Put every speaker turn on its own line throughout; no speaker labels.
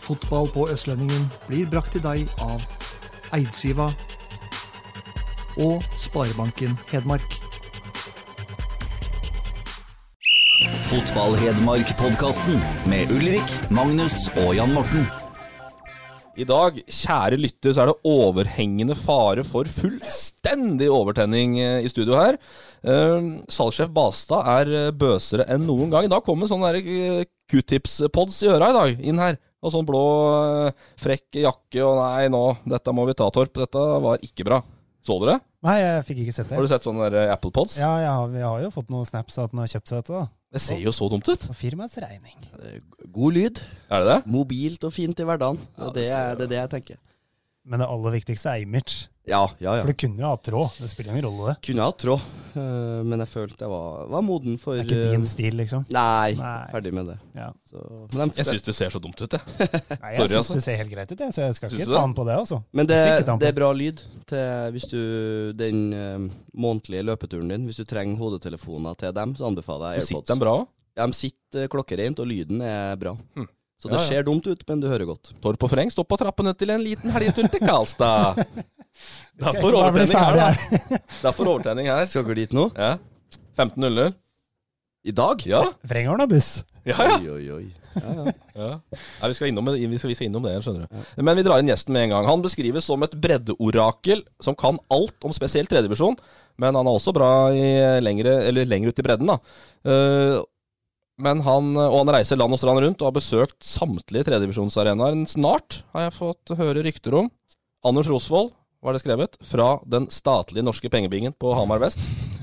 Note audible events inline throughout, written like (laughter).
Fotball på Østlendingen blir brakt til deg av Eidsiva og Sparebanken Hedmark.
Fotball-Hedmark-podkasten med Ulrik, Magnus og Jan Morten.
I dag, kjære lytter, så er det overhengende fare for fullstendig overtenning eh, i studio her. Eh, Salgssjef Bastad er eh, bøsere enn noen gang. I dag kommer sånne der, eh, Q-tips-pods i øra i dag, inn her. Og sånn blå, eh, frekk jakke og nei, nå, dette må vi ta, Torp. Dette var ikke bra. Så dere?
Nei, jeg fikk ikke sett det.
Har du sett sånne der, eh, Apple Pods?
Ja, ja, vi har jo fått noen snaps av at den har kjøpt seg dette, da.
Det ser jo så dumt ut.
På firmaets regning.
God lyd,
Er det det?
mobilt og fint i hverdagen. Og det er det, er det jeg tenker.
Men det aller viktigste er image.
Ja, ja, ja.
For du kunne jo hatt tråd. Det spiller ingen rolle, det.
Kunne jeg hatt tråd, eh, men jeg følte jeg var, var moden for
Det er ikke
eh,
din stil, liksom.
Nei,
Nei.
ferdig med det.
Ja.
Så, men,
Jeg
de,
syns det ser så dumt ut, jeg.
Nei,
Sorry,
jeg syns
altså.
det ser helt greit ut, jeg, så jeg skal
Syns
ikke
du
ta
det?
den på det, altså.
men det,
Jeg skal ikke ta den på.
det er bra lyd til hvis du, den eh, månedlige løpeturen din. Hvis du trenger hodetelefoner til dem, så anbefaler jeg
Sitter den
AirPods.
bra òg?
De sitter eh, klokkereint, og lyden er bra. Så
Hm. Ja,
det
ja.
ser dumt ut, men du hører godt.
Torp og Freng står på trappene til en liten helgetur til Karlstad.
(laughs) Skal
Derfor
ikke bare bli
overtenning her,
ferdig
da.
her.
Derfor overtenning her.
Skal dere dit nå?
Ja. 15-0.
I dag?
Ja.
Trenger han da buss?
Ja, ja.
Oi, oi, oi. Ja, ja.
Nei, vi, skal innom, vi, skal, vi skal innom det, skjønner du. Men vi drar inn gjesten med en gang. Han beskrives som et breddeorakel som kan alt om spesielt tredjevisjon, men han er også bra i lengre, eller lenger ut i bredden, da. Eh, Men han, og han reiser land og strand rundt og har besøkt samtlige tredjevisjonsarenaer snart, har jeg fått høre rykter om. Anders Rosvold, var det skrevet, fra den statlige norske pengebingen på Hamar vest.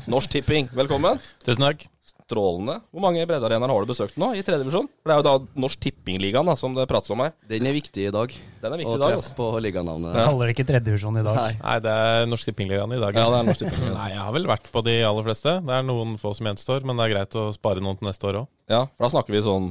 Norsk Tipping, velkommen.
Tusen takk.
Strålende. Hvor mange breddearenaer har du besøkt nå i tredje divisjon? For Det er jo da Norsk Tippingligaen da, som det prates om her.
Den er viktig i dag.
Den er
Å
viktig i dag.
treffe
Altså.
på liganavnet.
Jeg kaller det ikke tredjevisjon i dag.
Nei.
Nei, det er Norsk Tippingligaen i dag.
Ja, det er (laughs) Norsk Tippingligaen.
Nei, jeg har vel vært på de aller fleste. Det er noen få som gjenstår, men det er greit å spare noen til neste år òg.
Ja, for da snakker vi sånn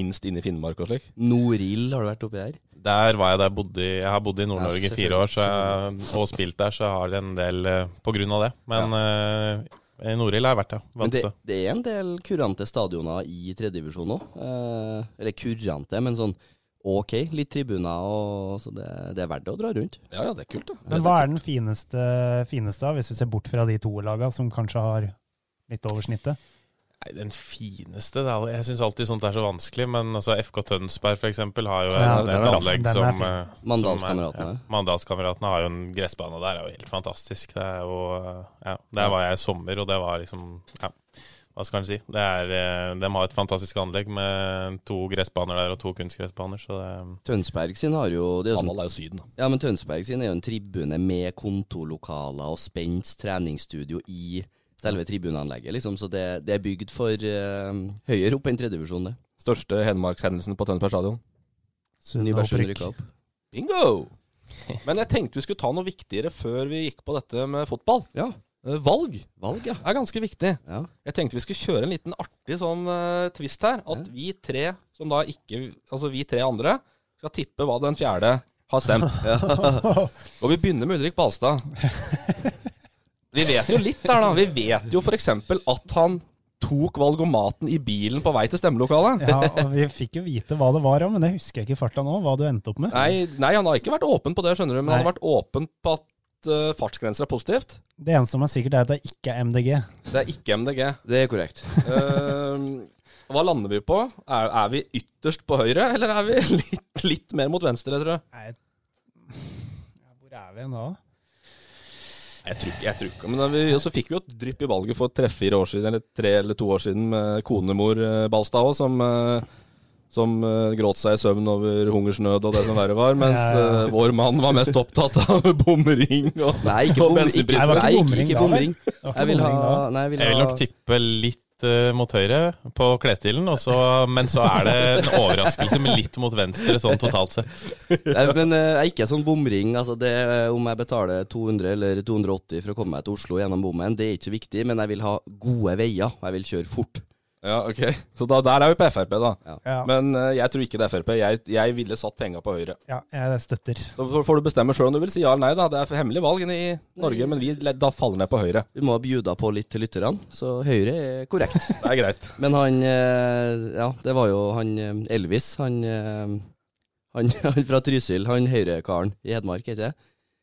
innst inn i Finnmark og slik.
Norild har du vært oppi der?
Der var jeg der jeg bodde i, Jeg har bodd i Nord-Norge i
Ja,
fire år så jeg, og spilt der, så jeg har en del eh, på grunn av det. Men eh, i Norild har jeg vært, ja.
Men det,
Vadsø.
det er en del kurante stadioner i tredjevisjon òg. Eh, eller kurante, men sånn OK, litt tribuner og så det, det er verdt det å dra rundt.
Ja, ja, det er kult, det.
Men hva er den fineste, fineste av, hvis vi ser bort fra de to laga som kanskje har litt over snittet?
Nei, den fineste det er, al- Jeg syns alltid sånt er så vanskelig, men altså FK Tønsberg f.eks. har jo
Ja,
en,
den er
et
raff.
anlegg
Den er
som
fin.
eh,
Mandalskameratene.
som er- Ja, Mandalskameratene har jo en gressbane der, er jo helt fantastisk. Det er jo eh, Ja, der var jeg i sommer, og det var liksom Ja, hva skal en si. Det er, eh, de har et fantastisk anlegg med to gressbaner der og to kunstgressbaner, så det
Tønsberg sin har jo, det er jo sånn,
Hamald er jo Syden, da.
Ja, men Tønsberg sin er jo en tribune med kontorlokaler og spenst treningsstudio i selve tribuneanlegget, liksom. Så det, det er bygd for eh, høyere opp enn tredjevisjon, det.
Største Hedmarkshendelsen på Tønsberg stadion.
Nybergsund
Sunnaas-Brygg.
rykka opp.
Bingo! (laughs) Men jeg tenkte vi skulle ta noe viktigere før vi gikk på dette med fotball.
Ja.
Eh, Valg
Valg, ja.
er ganske viktig.
ja.
Jeg tenkte vi skulle kjøre en liten artig sånn eh, twist her. At
Ja.
vi tre, som da ikke Altså vi tre andre, skal tippe hva den fjerde har stemt. Og vi begynner med Ulrik Balstad. Vi vet jo litt der, da. Vi vet jo f.eks. at han tok valgomaten i bilen på vei til stemmelokalet.
Ja, og vi fikk jo vite hva det var, ja, men det husker jeg ikke i farta nå, hva du endte opp med.
Nei, nei, han har ikke vært åpen på det, skjønner du. Men han
Nei.
har vært åpen på at eh, fartsgrenser er positivt.
Det eneste som er sikkert, er at det ikke er MDG.
Det er ikke MDG.
Det er korrekt.
Ehm, hva lander vi på? Er, er vi ytterst på høyre, eller er vi (laughs) litt, litt mer mot venstre, tror jeg?
Nei. Ja, Hvor er vi da?
Jeg tror ikke, jeg tror ikke. Men da vi, og så fikk vi jo et drypp i valget for tre-fire år siden, eller tre eller to år siden, med konemor eh, Balstad òg, som, eh, som eh, gråt seg i søvn over hungersnød og det som verre var, mens
Ja.
eh, vår mann var mest opptatt av (laughs) bomring og
Nei,
Og (laughs)
ikke bom- ikke-
bensinpriser.
Nei,
Nei, det var ikke
ikke-
bomring
ikke
da, vel?
bomring.
Det var ikke
Jeg vil
bomring da.
ha, nei, jeg vil
Jeg vil
ha
nok tippe litt litt eh, mot høyre på klesstilen, og så- men så er det en overraskelse med litt mot venstre sånn totalt sett.
Nei, men eh, jeg er ikke sånn bomring. Altså det, eh, om jeg betaler 200 eller 280 for å komme meg til Oslo gjennom bommen, det er ikke så viktig, men jeg vil ha gode veier. og Jeg vil kjøre fort.
Ja, ok. Så da, der er vi på Frp, da.
Ja.
Men eh, jeg tror ikke det er Frp. Jeg, jeg ville satt penga på Høyre.
Ja, jeg støtter.
Så får- får du bestemme sjøl om du vil si ja eller nei. da. Det er hemmelig valg inne i Norge, men vi le- da faller ned på Høyre.
Vi må ha bjuda på litt til lytterne, så Høyre er korrekt.
Det er greit.
Men han eh, Ja, det var jo han eh, Elvis, han, eh, han, (laughs) han fra Trysil, han Høyre-karen i Hedmark, heter det?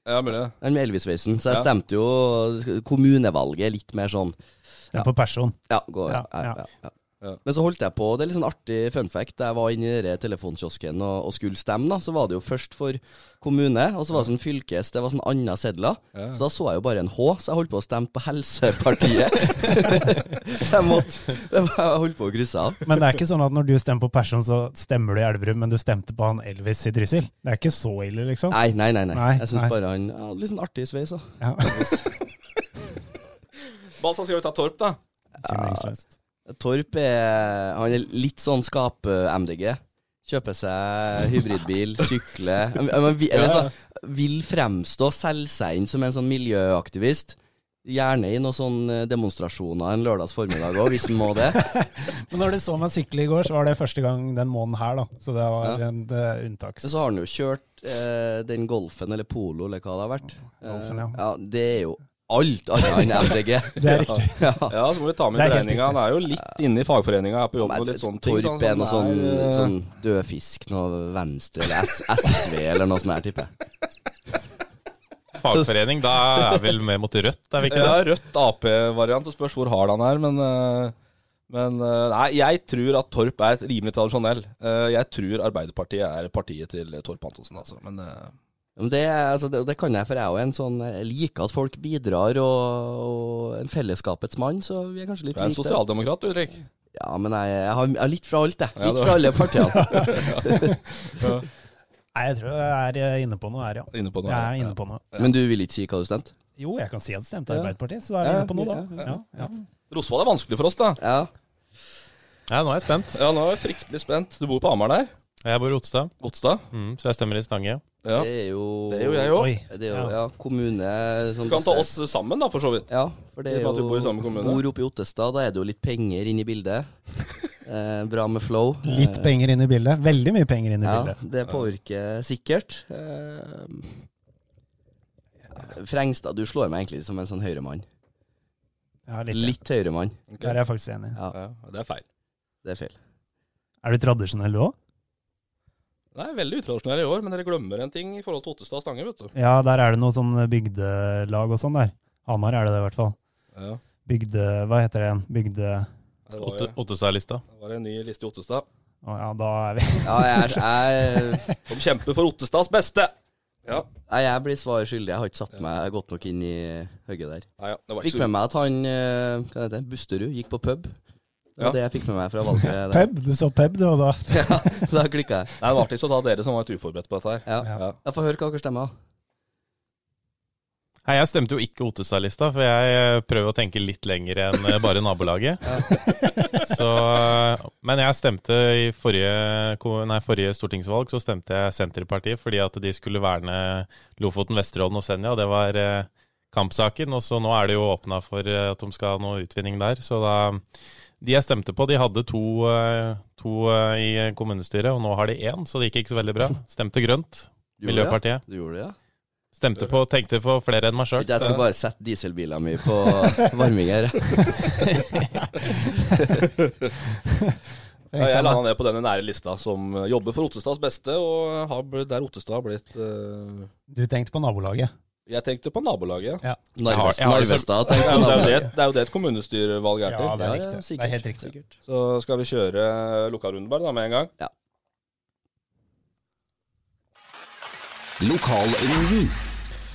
Ja, mulig det.
Han med Elvis-sveisen. Så jeg
Ja.
stemte jo kommunevalget litt mer sånn
Den på person.
Ja, gå, ja,
Ja,
ja,
ja.
ja,
Ja.
Men så holdt jeg på, det er litt sånn artig fun fact, da jeg var inne i den telefonkiosken og, og skulle stemme, da, så var det jo først for kommune, og så var det sånn fylkes, det var sånn andre sedler, så da så jeg jo bare en H, så jeg holdt på å stemme på Helsepartiet. (laughs) så jeg måtte, jeg holdt på å krysse av.
Men det er ikke sånn at når du stemmer på person, så stemmer du i Elverum, men du stemte på han Elvis i Trysil. Det er ikke så ille, liksom.
Nei, nei, nei, nei.
Nei,
Jeg synes
nei.
bare han, ja, litt sånn artig sveis, da.
Ja.
Balsa skal jo ta Torp, da.
Bekymringsløst.
Torp er, han er litt sånn skape-MDG. Kjøper seg
(laughs)
hybridbil, sykler Han- han vil- eller så, Vil fremstå, selge seg inn som en sånn miljøaktivist. Gjerne i noen sånne demonstrasjoner en lørdags formiddag òg, hvis han må
(laughs)
det.
Men når du så meg sykle i går, så var det første gang den måneden her, da. Så det var en eh, unntak.
Men så har han jo kjørt eh, den golfen, eller polo, eller hva det har vært.
Golfen, ja.
Eh, ja Det er jo alt annet enn MDG.
(laughs) Det er riktig.
(laughs) Ja.
Ja, så må vi ta med i
Det er helt
beregninga. Han er jo litt inne i fagforeninga, er på jobb og litt sånne ting. så
Torp
han-
er noe sånn,
er, eh,
sånn dødfisk, noe venstre, eller S SV, eller noe sånt her, tipper jeg.
Fagforening, da er vel med mot rødt, er vi ikke
Ja,
det?
rødt Ap-variant. Det spørs hvor hard han er, men eh, men eh, nei, jeg tror at Torp er et rimelig tradisjonell. Eh, Jeg tror Arbeiderpartiet er partiet til Torp Antonsen, altså. Men eh,
Men Det, altså, det, det kan jeg, for jeg er jo en sånn Jeg liker at folk bidrar, og, og en fellesskapets mann, så vi er kanskje litt
du er en
lite-
sosialdemokrat, du, Ulrik.
Ja, men jeg, jeg, har, jeg har litt fra alt, jeg.
Ja,
Litt
du-
fra alle partiene.
(laughs)
Nei, jeg tror jeg er inne på noe her, ja.
Inne på noe.
Jeg er inne på noe.
Men du vil ikke si hva du stemte?
Jo, jeg kan si at det stemte
Ja.
Arbeiderpartiet, så da er vi
Ja,
inne på noe, da. Ja, ja.
Rosvoll er vanskelig for oss, da.
Ja.
Ja, nå er jeg spent.
Ja, nå er jeg fryktelig spent. Du bor på Hamar der?
Jeg bor i Otstad,
Godstad?
mm, så jeg stemmer i Stange.
Ja.
Det er jo
Det er jo jeg òg.
Oi.
Det er jo,
Ja.
ja, kommune sånn
Du kan ta
basert-
oss sammen, da, for så vidt.
Ja, for det
I
er
og med
jo
at vi bor i samme kommune.
Bor oppe i Ottestad, da er det jo litt penger inne i
(laughs)
bildet. Eh, bra med flow. Eh,
Litt penger inn i bildet. Veldig mye penger inn i
Ja,
bildet.
det påvirker sikkert. Eh, Frengstad, du slår meg egentlig som en sånn høyremann.
Ja, litt.
Litt høyremann.
Der er jeg faktisk enig.
Ja.
Ja, det er feil.
Det er feil.
Er du tradisjonell du òg?
Nei, veldig utradisjonell i år, men dere glemmer en ting i forhold til Ottestad og Stange, vet du.
Ja, der er det noe sånn bygdelag og sånn der. Hamar er det det, i hvert fall.
Ja.
Bygde... Hva heter det igjen? Bygde...
Det var,
Otte-
jo-
Ottestad-lista.
det var en ny liste i Ottestad.
Å ja, da er vi
Ja, jeg, er-
(laughs)
jeg,
Som kjemper for Ottestads beste! Ja.
nei, jeg blir svar skyldig. Jeg har ikke satt meg godt nok inn i høyet der.
Nei, ja. Det var
Fikk
ikke så
med meg at han eh, hva heter det, Busterud gikk på pub. Det
Ja.
var det jeg fikk med meg fra valget. der.
Peb, du så Peb, du, og da
Ja, da klikka jeg.
Nei, det var artig å ta dere som var litt uforberedt på dette her.
Ja.
Ja.
Jeg får høre hva dere stemmer. da.
Nei, jeg stemte jo ikke Ottestad-lista, for jeg eh, prøver å tenke litt lenger enn eh, bare nabolaget. (laughs) Så, eh, men jeg stemte i forrige, ko- nei, forrige stortingsvalg så stemte jeg Senterpartiet fordi at de skulle verne Lofoten, Vesterålen og Senja. Det var eh, kampsaken, og så nå er det jo åpna for eh, at de skal ha noe utvinning der. Så da, de jeg stemte på, de hadde to, eh, to eh, i kommunestyret, og nå har de én, så det gikk ikke
(laughs)
så veldig bra. Stemte
Du
grønt,
gjorde det, ja?
Miljøpartiet.
Du gjorde det, ja?
Stemte på, tenkte på flere enn meg sjøl.
Jeg skal bare sette dieselbilen min på varming her.
Ja, jeg landa ned på denne nære lista, som eh, jobber for Ottestads beste, og har, bl- der Ottestad har blitt eh,
Du tenkte på nabolaget.
Jeg tenkte på nabolaget.
Ja,
Narvest-
jeg har det så-
Narvestad.
Det
tenk
er
på
jo det, er jo
navnet.
det, det, er jo det et kommunestyrevalg er til.
det er
Ja, ja,
riktig.
sikkert,
det er helt riktig.
sikkert.
Så skal vi kjøre eh, lukka rundebar da, med en gang.
Lokalrunden.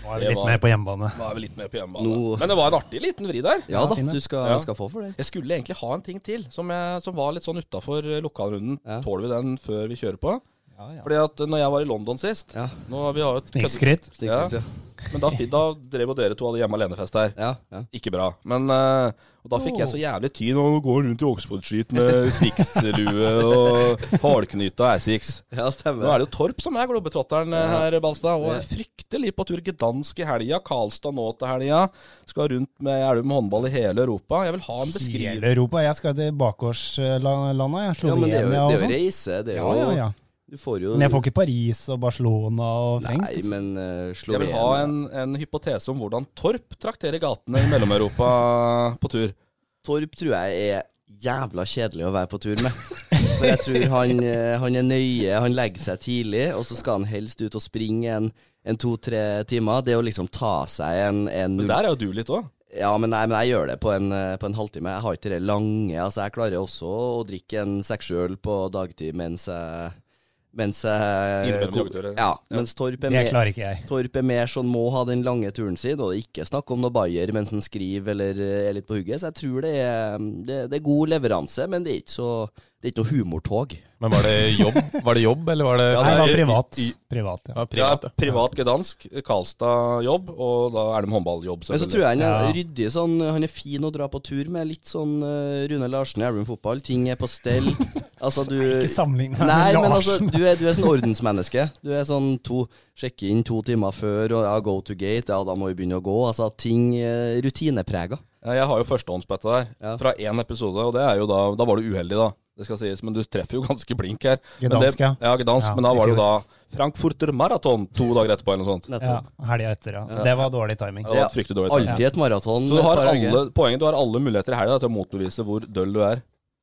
Nå er vi
Det
litt
var-
mer på hjemmebane.
Da er vi litt mer på hjemmebane.
Nå-
Men det var en artig liten vri der.
Ja da,
fine.
du skal,
Ja.
skal få for det.
Jeg skulle egentlig ha en ting til, som, jeg, som var litt sånn utafor lokalrunden.
Ja.
Tåler vi den før vi kjører på?
Ja, ja.
Fordi at når jeg var i London sist
Ja.
nå, vi har jo et
Snikskryt.
Stikk,
Ja.
ja.
Men da, fi- da drev jo dere to hadde hjemme alene-fest her. Ikke bra. Men eh, Og da fikk jeg så jævlig tyn og går rundt i Oxford-skit med svikslue og hardknyta Assix.
(laughs) Ja, stemmer.
Nå er det jo Torp som er globetrotteren eh, her, Balstad. Og
Det-
er fryktelig på tur Gdansk i helga, Karlstad nå til helga. Skal rundt med Elum håndball i hele Europa. Jeg vil ha en beskrivelse.
Hele Europa. Jeg skal til bakgårdslanda, jeg.
Ja, men det er
Slovenia
jo, det
og
er jo
sånn.
reise. Det er jo,
Ja, ja, ja.
Du får jo
Men jeg får ikke Paris og Barcelona og Frenks.
Nei,
liksom.
men uh,
Jeg vil
Slovenia
ha en, en hypotese om hvordan Torp trakterer gatene i Mellom-Europa på tur.
Torp tror jeg er jævla kjedelig å være på tur med. For jeg tror han, eh, han er nøye, han legger seg tidlig, og så skal han helst ut og springe en, en to-tre timer. Det å liksom ta seg en, en
Men der er jo du litt òg.
Ja, men, nei, men jeg gjør det på en, eh, på en halvtime. Jeg har ikke det lange. Altså, jeg klarer også å drikke en seks øl på dagtid mens jeg mens jeg
Innimellom joggeturer.
Ja, mens Torp er
Det
mer,
klarer ikke jeg.
Torp er mer sånn må ha den lange turen sin, og det er ikke snakk om noe bayer mens han skriver eller eh, er litt på hugget. Så jeg tror det er, det, det er god leveranse, men det er ikke, så, det er ikke noe humortog.
Men var det jobb, var det jobb eller var det
Nei, det
i-
var privat.
i-
privat ja.
Ja,
Ja,
privat, ja.
privat gedansk, Karlstad-jobb, og da er det med håndballjobb,
Men så
selvfølgelig.
tror jeg han er
Ja.
ryddig sånn, han er fin å dra på tur med, litt sånn eh, Rune Larsen i Elverum fotball. Ting er på stell. Altså, du
Ikke sammenlign deg
Nei,
med
men altså,
Larsen.
du er, du er sånn ordensmenneske. Du er sånn to Sjekke inn to timer før, og ja, go to gate, ja, da må vi begynne å gå. Altså, ting eh, rutineprega.
Ja, Jeg har jo førstehåndsbetta der,
Ja.
fra én episode, og det er jo da Da var du uheldig, da. Det skal sies, men du treffer jo (laughs) ganske blink her. Men
Gdansk,
det,
ja.
ja. Gdansk,
Ja,
men da
i
var det jo da
fjor.
Frankfurter Maraton to dager etterpå, eller noe sånt.
(laughs) Ja,
Nettopp.
helga etter, ja. Så det var dårlig timing.
Det var et fryktelig dårlig tegn.
Alltid et maraton.
Så du har
et par dager.
alle, poenget, du har alle muligheter i helga til å motbevise hvor døll du er.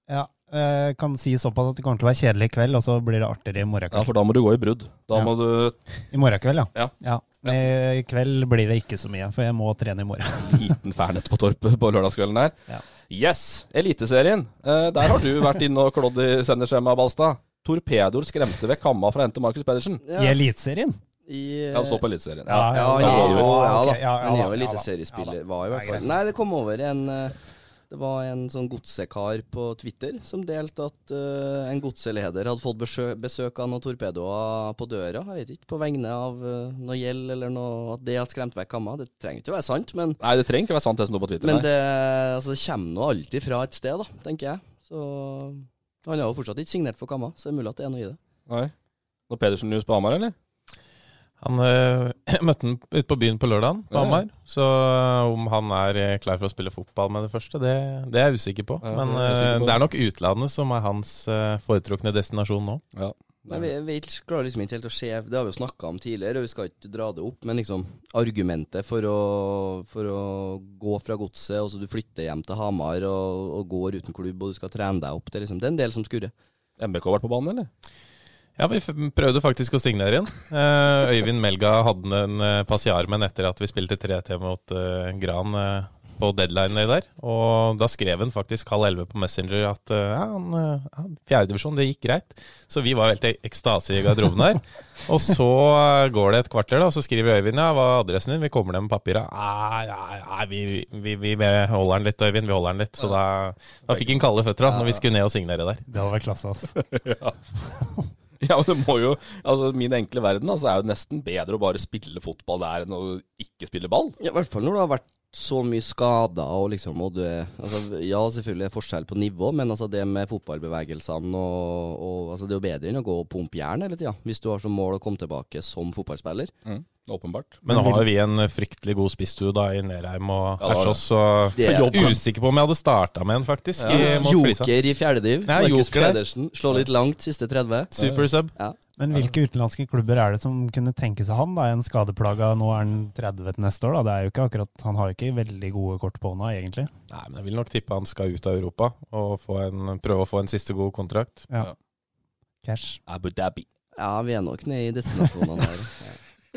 Ja, eh, kan si såpass at det kommer til å være kjedelig i kveld, og så blir det artigere i morgen
Ja,
kveld.
for da må du gå i brudd. Da
Ja.
må du
I morgen kveld, ja.
Ja.
Men I kveld blir det ikke så mye, for jeg må trene i morgen.
(laughs) liten fernet på torpet på lørdagskvelden her.
Ja.
Yes! Eliteserien. Eh, der har du vært inne og klådd i sendeskjemaet, Balstad. Torpedoer skremte vekk kamma fra hente Markus Pedersen.
I
Ja,
Eliteserien?
i,
Ja, det står på Eliteserien. Ja.
Ja, han
Ja,
er jo ja, da.
ok, ja, ja,
Han
da,
er jo
ja, da,
eliteseriespiller.
ja, da.
Var i hvert
Ja, greit.
fall. Nei, det kom over en eh, Det var en sånn godsekar på Twitter som delte at eh, en godseleder hadde fått besø besøk av noen torpedoer på døra. Jeg vet ikke, på vegne av eh, noe gjeld eller noe At det hadde skremt vekk kamma. Det trenger ikke å være sant, men,
Nei, det trenger ikke være sant, det som står på Twitter.
men
nei.
det, altså, det kommer nå alltid fra et sted, da, tenker jeg. Så han har jo fortsatt ikke signert for kamma, så det er mulig at det er noe i det.
Nei. Noe Pedersen-news på Hamar, eller?
Han (clears throat) øh, møtte han ute på byen på lørdagen, på
Ja.
Hamar. Så øh, om han er øh, klar for å spille fotball med det første, det, det er jeg usikker på.
Ja,
Men
det er jeg usikker
øh,
på.
det er nok utlandet som er hans øh, foretrukne destinasjon nå.
Ja.
Men vi, vi klarer liksom ikke helt å se Det har vi jo snakka om tidligere, og vi skal ikke dra det opp, men liksom argumentet for å, for å gå fra godset, og så du flytter hjem til Hamar og, og går uten klubb, og du skal trene deg opp, det er liksom Det er en del som skurrer.
MBK har vært på banen, eller?
Ja, vi f prøvde faktisk å signere igjen. Eh, Øyvind Melga hadde en eh, pass i armen etter at vi spilte 3T mot eh, Gran eh, på deadline day der. Og da skrev han faktisk halv elleve på Messenger at eh, ja, han, eh, han, fjerdedivisjon, det gikk greit. Så vi var helt i ekstase i garderoben der. Og så eh, går det et kvarter, da, og så skriver Øyvind ja, hva er adressen din? Vi kommer ned med Ah, papira. Nei, nei, nei, vi, vi, vi, vi holder den litt, Øyvind. Vi holder den litt. Så da, da fikk han kalde føtter da, når vi skulle ned og signere der.
Det hadde vært klasse, altså.
(laughs) Ja, men det må jo Altså, min enkle verden altså, er jo nesten bedre å bare spille fotball der enn å ikke spille ball.
Ja, I hvert fall når det har vært så mye skader og liksom og du, er- altså, Ja, selvfølgelig er det forskjell på nivå, men altså det med fotballbevegelsene og, og altså Det er jo bedre enn å gå og pumpe jern hele tida, hvis du har som mål å komme tilbake som fotballspiller.
Åpenbart.
Men nå har jo vi en fryktelig god spisstue da i Nerheim og
Ja, det har
Ertsås, så
Det er-
jeg er usikker på om jeg hadde starta med en, faktisk. i- mot Flisa.
Joker i fjerdediv.
Ja,
Markus
joker der.
Pedersen. Slå litt langt, siste 30.
Super sub.
Men hvilke utenlandske klubber er det som kunne tenke seg han? da? En skadeplaga, nå er han 30 til neste år. da. Det er jo ikke akkurat, Han har jo ikke veldig gode kort på hånda, egentlig.
Nei, men jeg vil nok tippe han skal ut av Europa og få en, prøve å få en siste god kontrakt.
Cash.
Abu Dhabi.
Ja, vi er nok nede i destinasjonene her.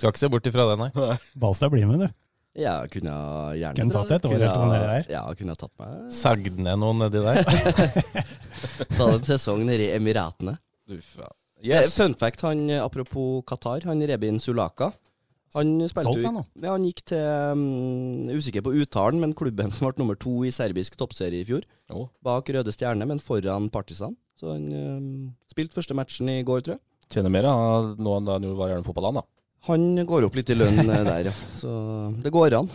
Skal ikke se bort ifra det, nei.
(laughs)
Balstad blir med, du.
Ja, kunne jeg gjerne
Kunne tatt et år
Kunne
eller to
jeg-
nedi der.
Ja, kunne jeg tatt meg
Sagd ned noen nedi der.
Ta en sesong nede i Emiratene.
Du faen.
Eh, Fun fact, han, eh, apropos Qatar, han Rebin Sulaka han spilte
Solgt
jo-
han nå?
ja, han gikk til um, Usikker på uttalen, men klubben (laughs) som ble nummer to i serbisk toppserie i fjor.
Jo.
Bak Røde Stjerne, men foran Partisan. Så han um, spilte mm, første matchen i går, tror jeg.
Tjener mer av nå enn da han jo var i Ørn fotballand, da.
Han går opp litt i lønn eh, der, ja. Så det går an.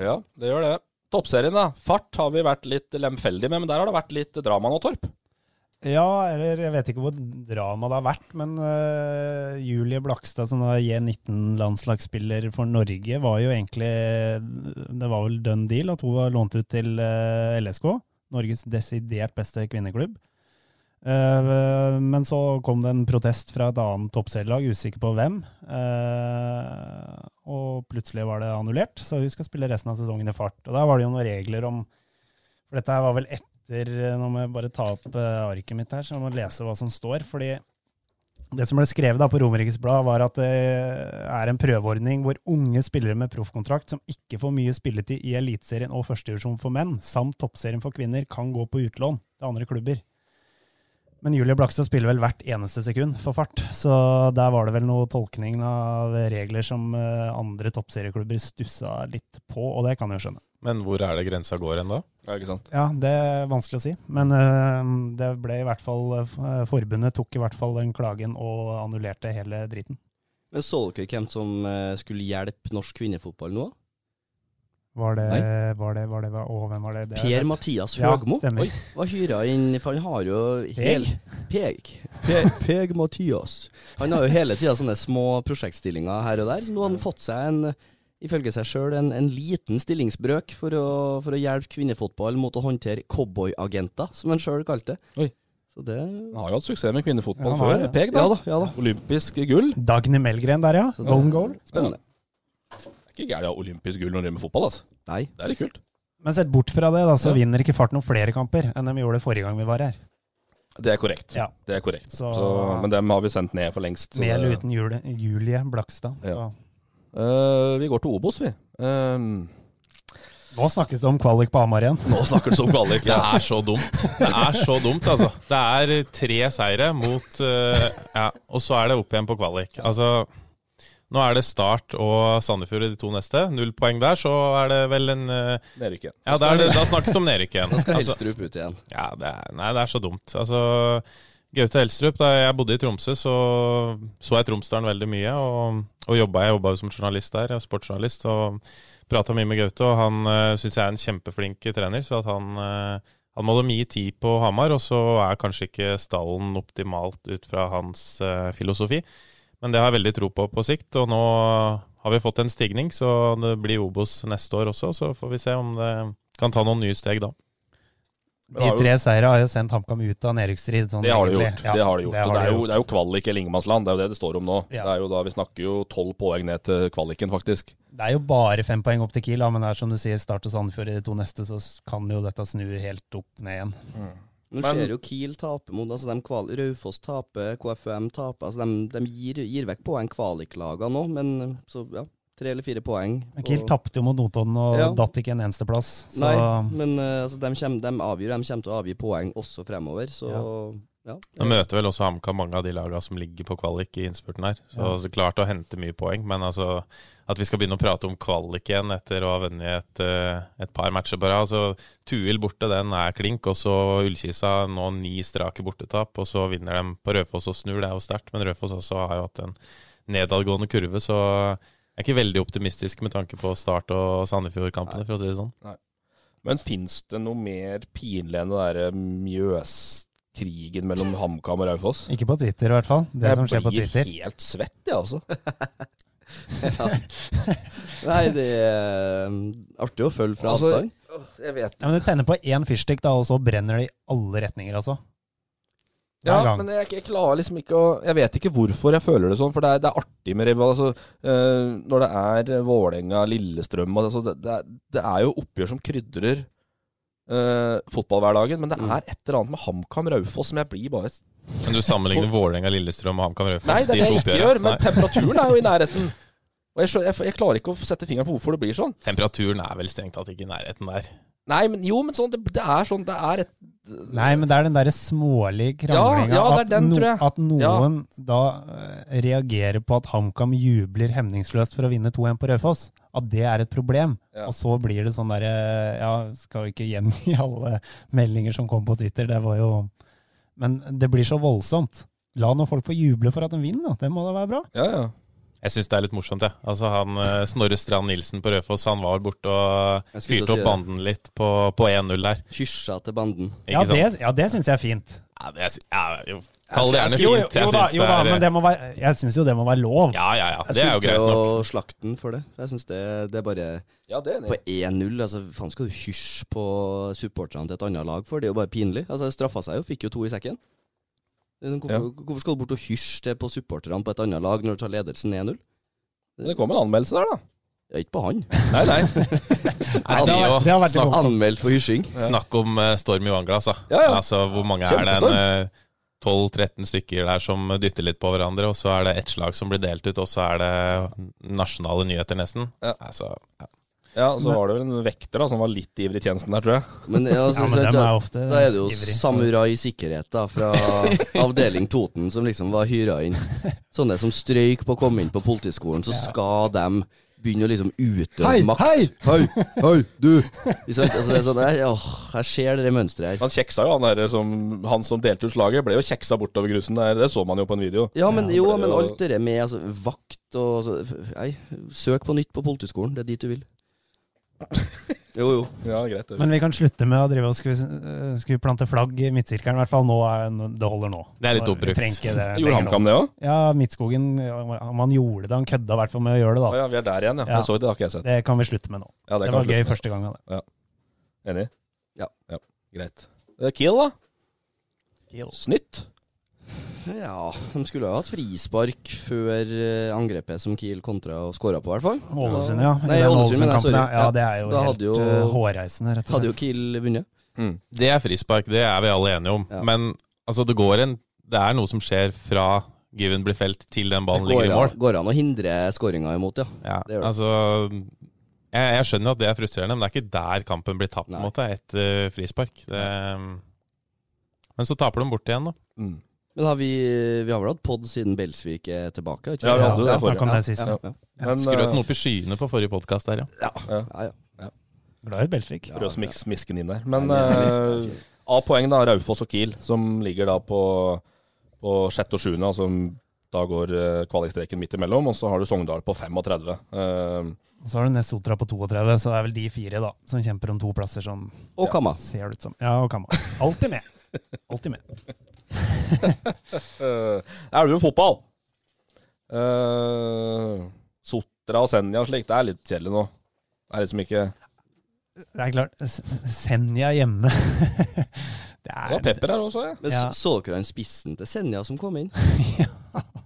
Ja, det gjør det. Toppserien, da. Fart har vi vært litt lemfeldige med, men der har det vært litt drama nå, Torp.
Ja, eller jeg vet ikke hvor drama det har vært, men øh, Julie Blakstad, som var J19-landslagsspiller for Norge, var jo egentlig Det var vel done deal at hun var lånt ut til øh, LSK, Norges desidert beste kvinneklubb. Eh, men så kom det en protest fra et annet toppserielag, usikker på hvem. eh, og plutselig var det annullert, så hun skal spille resten av sesongen i fart. Og der var det jo noen regler om For dette her var vel etter Nå må jeg bare ta opp eh, arket mitt her, så jeg må lese hva som står. fordi det som ble skrevet da på Romerikes Blad, var at det eh, er en prøveordning hvor unge spillere med proffkontrakt som ikke får mye spilletid i Eliteserien og førstedivisjon for menn, samt Toppserien for kvinner, kan gå på utlån til andre klubber. Men Julie Blakstad spiller vel hvert eneste sekund for fart, så der var det vel noe tolkning av regler som eh, andre toppserieklubber stussa litt på, og det kan jeg jo skjønne.
Men hvor er det grensa går hen da?
Ja, ikke sant?
Ja, det er vanskelig å si, men eh, det ble i hvert fall eh, Forbundet tok i hvert fall den klagen og annullerte hele driten.
Men så dere hvem som eh, skulle hjelpe norsk kvinnefotball nå?
Var det, var det, var det, var, å, hvem var det? det er
Per
rett.
Mathias
Ja,
Høgmo
stemmer.
Oi, var hyra inn, for han har jo hel, Peg.
(laughs)
Peg. Peg Mathias. Han har jo hele tida sånne små prosjektstillinger her og der, så nå har han fått seg en Ifølge seg sjøl en, en liten stillingsbrøk for å, for å hjelpe kvinnefotball mot å håndtere cowboyagenter, som han sjøl kalte det.
Oi.
Så det
Han har jo hatt suksess med kvinnefotball
Ja, han har
før.
det.
Peg, da.
Ja da, ja da.
Olympisk gull.
Dagny Melgren der, ja.
Så det-
Golden goal.
Spennende.
Det er ikke gærent å ha olympisk gull når du driver med fotball, altså.
Nei.
Det er litt kult.
Men sett bort fra det, da, så
Ja.
vinner ikke Fart noen flere kamper enn de gjorde forrige gang vi var her.
Det er korrekt.
Ja.
Det er korrekt. Så...
Så-
men dem har vi sendt ned for lengst. så
Med
det-
eller uten Julie, Julie Blakstad.
Ja. Eh, vi går til Obos, vi. Eh,
Så nå snakkes det om kvalik på Hamar igjen.
nå snakker det som gallik.
Det er så dumt. Det er så dumt, altså. Det er tre seire mot eh, Ja, og så er det opp igjen på kvalik. Altså, nå er det Start og Sandefjord i de to neste. Null poeng der, så er det vel en eh,
Det er det ikke.
Ja, da, er det, da snakkes det om nedrykk igjen.
Skal
Altså,
Helstrup ut igjen.
ja, det er, nei, det er så dumt. Altså, Gaute Helstrup, da jeg bodde i Tromsø, så så jeg Tromsdalen veldig mye. Og, og jobba, jeg jobba jo som journalist der, jeg er sportsjournalist, og prata mye med Gaute. Og han uh, syns jeg er en kjempeflink trener, så at han, eh, han må ha mye tid på Hamar. Og så er kanskje ikke stallen optimalt ut fra hans eh, filosofi, men det har jeg veldig tro på på sikt. Og nå har vi fått en stigning, så det blir Obos neste år også. Så får vi se om det kan ta noen nye steg da.
Men
De
har jo-
tre seirene har jo sendt HamKam ut av nedrykksstrid. Sånn,
Det har det
egentlig.
gjort.
Ja,
det har det gjort. Det,
har de
er, jo, det er jo kvalik eller ingenmannsland. Det er jo det det står om nå.
Ja.
Det er jo da Vi snakker jo tolv poeng ned til kvaliken, faktisk.
Det er jo bare fem poeng opp til Kiel, da, men det er som du sier, Start og Sandefjord i de to neste, så kan jo dette snu helt opp ned igjen.
Nå ser jo Kiel tape mot altså de kval Raufoss taper, KFUM taper. altså De, de gir, gir vekk poeng kvaliklaga nå, men så ja, tre eller fire poeng.
Men Kiel
Og-
tapte jo mot Notodden og
Ja.
datt ikke en eneste plass. Så
Nei, men eh, altså, de, kjem, de avgjør, de kommer til å avgi poeng også fremover, så ja. (laughs)
De møter vel også HamKam, mange av de lagene som ligger på kvalik i innspurten her. Så, så klart å hente mye poeng, men altså at vi skal begynne å prate om kvalik igjen etter å ha vunnet et, eh, et par matcher på rad. Altså, Tuil borte, den er klink, og så Ullkisa nå ni strake bortetap, og så vinner de på Rødfoss og snur, det er jo sterkt, men Rødfoss også har jo hatt en nedadgående kurve, så jeg er ikke veldig optimistisk med tanke på Start- og Sandefjord-kampene, for å si det sånn.
Men fins det noe mer pinlig enn det derre Mjøskrigen mellom HamKam og Raufoss?
ikke på Twitter, i hvert fall. Det som skjer på Twitter.
blir helt svett, jeg, altså.
Nei, det er eh, artig å følge fra
Altså,
avstand.
Jeg vet
Ja, men du tenner på én fyrstikk, da, og så brenner det i alle retninger, altså. Hver
Ja,
gang.
men jeg, jeg klarer liksom ikke å Jeg vet ikke hvorfor jeg føler det sånn, for det er, det er artig med rival. Altså, eh, når det er Vålerenga, Lillestrøm altså, det, det, er, det er jo oppgjør som krydrer eh, fotballhverdagen, men det er et eller annet med HamKam Raufoss som jeg blir bare
Men du sammenligner Vålerenga, Lillestrøm og HamKam Rødfoss?
Nei, det er det
de to
jeg ikke
oppgjørene.
gjør, men
Nei.
temperaturen er jo i (laughs) nærheten. Og jeg, skjø- jeg, jeg klarer ikke å sette fingeren på hvorfor det blir sånn.
Temperaturen er vel strengt tatt ikke i nærheten der.
Nei, men jo, men sånn, det, det er sånn Det er et
Nei, men det er den derre
Ja,
smålige kranglinga.
ja, det
at,
er den,
no,
tror jeg.
at noen da eh, reagerer på at HamKam jubler hemningsløst for å vinne 2-1 på Raufoss. At det er et problem.
Ja.
Og så blir det sånn derre Ja, skal jo ikke gjengi (laughs) alle meldinger som kom på Twitter, det var jo Men det blir så voldsomt. La nå folk få juble for at de vinner, da. Det må da være bra.
Ja, ja.
Jeg syns det er litt morsomt, jeg. Altså, han eh, Snorre Strand Nilsen på Rødfoss, han var borte og
Jeg skulle
fyrte
til å
opp
si
banden litt på, på 1-0 der.
Kyrsa til banden.
Ikke
Ja, det,
sant?
ja, det syns jeg er fint.
Ja, det er, ja, jo, kall det gjerne
Jeg
Jo, jo,
fint.
jo
Jeg
da,
syns
jo da,
det
men
er
det må være, jeg syns jo det må være lov.
Ja, ja, ja.
Jeg
Det er jo
skulle
greit
til
nok.
å slakte den for det. Jeg syns det, det er bare
Ja, det er
På 1-0, altså faen skal du hysje på supporterne til et annet lag for? Det er jo bare pinlig. Altså, det straffa seg jo, fikk jo to i sekken. Det er sånn, Hvorfor, hvorfor skal du bort og hysje til på supporterne på et annet lag når du tar ledelsen 1-0?
Men det kom en anmeldelse der, da.
Ja, ikke på
Altså-
han.
Nei, nei. (laughs)
Nei, det er jo
Det har vært
snakk,
voldsomt.
Anmeldt for hysjing.
snakk om eh, storm i vannglass, da.
Ja, ja.
Altså, hvor mange er det?
Kjempestorm.
En, eh, 12-13 stykker der som dytter litt på hverandre, og så er det ett slag som blir delt ut, og så er det nasjonale nyheter, nesten.
Ja.
Altså, ja.
Ja, og Så var det vel en vekter da, som var litt ivrig i tjenesten der, tror jeg.
Men, ja, altså,
Ja, men
sant,
dem er
da-
ofte
da er det jo
ivrig.
Samurai Sikkerhet da,
(laughs)
fra avdeling Toten som liksom var hyra inn. Sånne som strøyk på å komme inn på politiskolen, så skal dem begynne å liksom utøve
Hei,
makt.
hei!
hei, hei,
(laughs)
du! Ikke sant? Altså, det er sånn, jeg, åh, jeg ser det mønsteret her.
Han kjeksa jo, han der som, han som delte ut slaget, ble jo kjeksa bortover grusen der. Det så man jo på en video.
Ja, men jo,
for det er
men
jo-
alt det der med altså, vakt og så, f- Nei, søk på nytt på politiskolen. Det er dit du vil.
(laughs)
Jo, jo.
Ja, greit. det.
Men vi kan slutte med å drive og skulle, øh, skulle plante flagg i midtsirkelen, i hvert fall. Nå er, det holder nå.
Det er litt
Nå- vi
oppbrukt.
trenger ikke
(laughs)
det
Gjorde
lenger nå.
HamKam det òg?
Ja, Midtskogen ja, Om han gjorde det, han kødda i hvert fall med å gjøre det,
Å
da.
ja, vi er der igjen, ja.
Ja.
Jeg så det, det har ikke jeg sett.
Det kan vi slutte med nå.
Ja,
Det
kan
var
vi
gøy
slutte med.
første gangen.
Enig?
Ja.
Greit. Eh, Kiel, da?
det.
Snytt?
Ja, de skulle ha hatt frispark før eh, angrepet som Kiel kontra og skåra på, i hvert fall.
Ålesund, ja. I
Nei,
den
Ålesund, men jeg,
Ålesund-kampen,
sorry.
ja. Ja,
Ja,
det er jo
da
helt
hadde jo-
øh, hårreisende, rett og
Hadde jo
slett.
Kiel vunnet.
Det er frispark, det er vi alle enige om.
Ja.
Men altså, det går en Det er noe som skjer fra Given blir felt til den ballen
går,
ligger i mål.
an, går an å hindre skåringa imot, ja.
Ja,
det gjør det.
altså jeg, jeg skjønner jo at det er frustrerende, men det er ikke der kampen blir tapt, på
Nei.
en måte, etter frispark. Det, ehm, men så taper de bort igjen, da.
Mm.
Men har vi, vi har vel hatt pod siden Belsvik er tilbake?
Ja, vi hadde jo det
Ja,
forrige.
Snakk om det sist.
Ja, ja.
Men
Skrøt
eh,
den opp i skyene på forrige podkast der, ja.
Ja, ja.
Glad i Belsvik.
prøv å smis- smiske den inn der. Men
Nei,
eh, av poeng, da, Raufoss og Kiel, som ligger da på, på sjette og sjuende, altså da går eh, kvalikstreken midt imellom, og så har du Sogndal på 35. Eh,
Så har du Nesotra på 32, så det er vel de fire da, som kjemper om to plasser som
Og Kamma.
ser ut som Ja, og Kamma. Alltid med. Alltid med.
Eh, Elverum fotball. Eh, Sotra og Senja og slikt, det er litt kjedelig nå. Det er liksom ikke
Det er klart, S- Senja hjemme (laughs) Det
Det var
er
pepper her også, ja.
Men
Ja.
så, så dere han spissen til Senja som kom inn?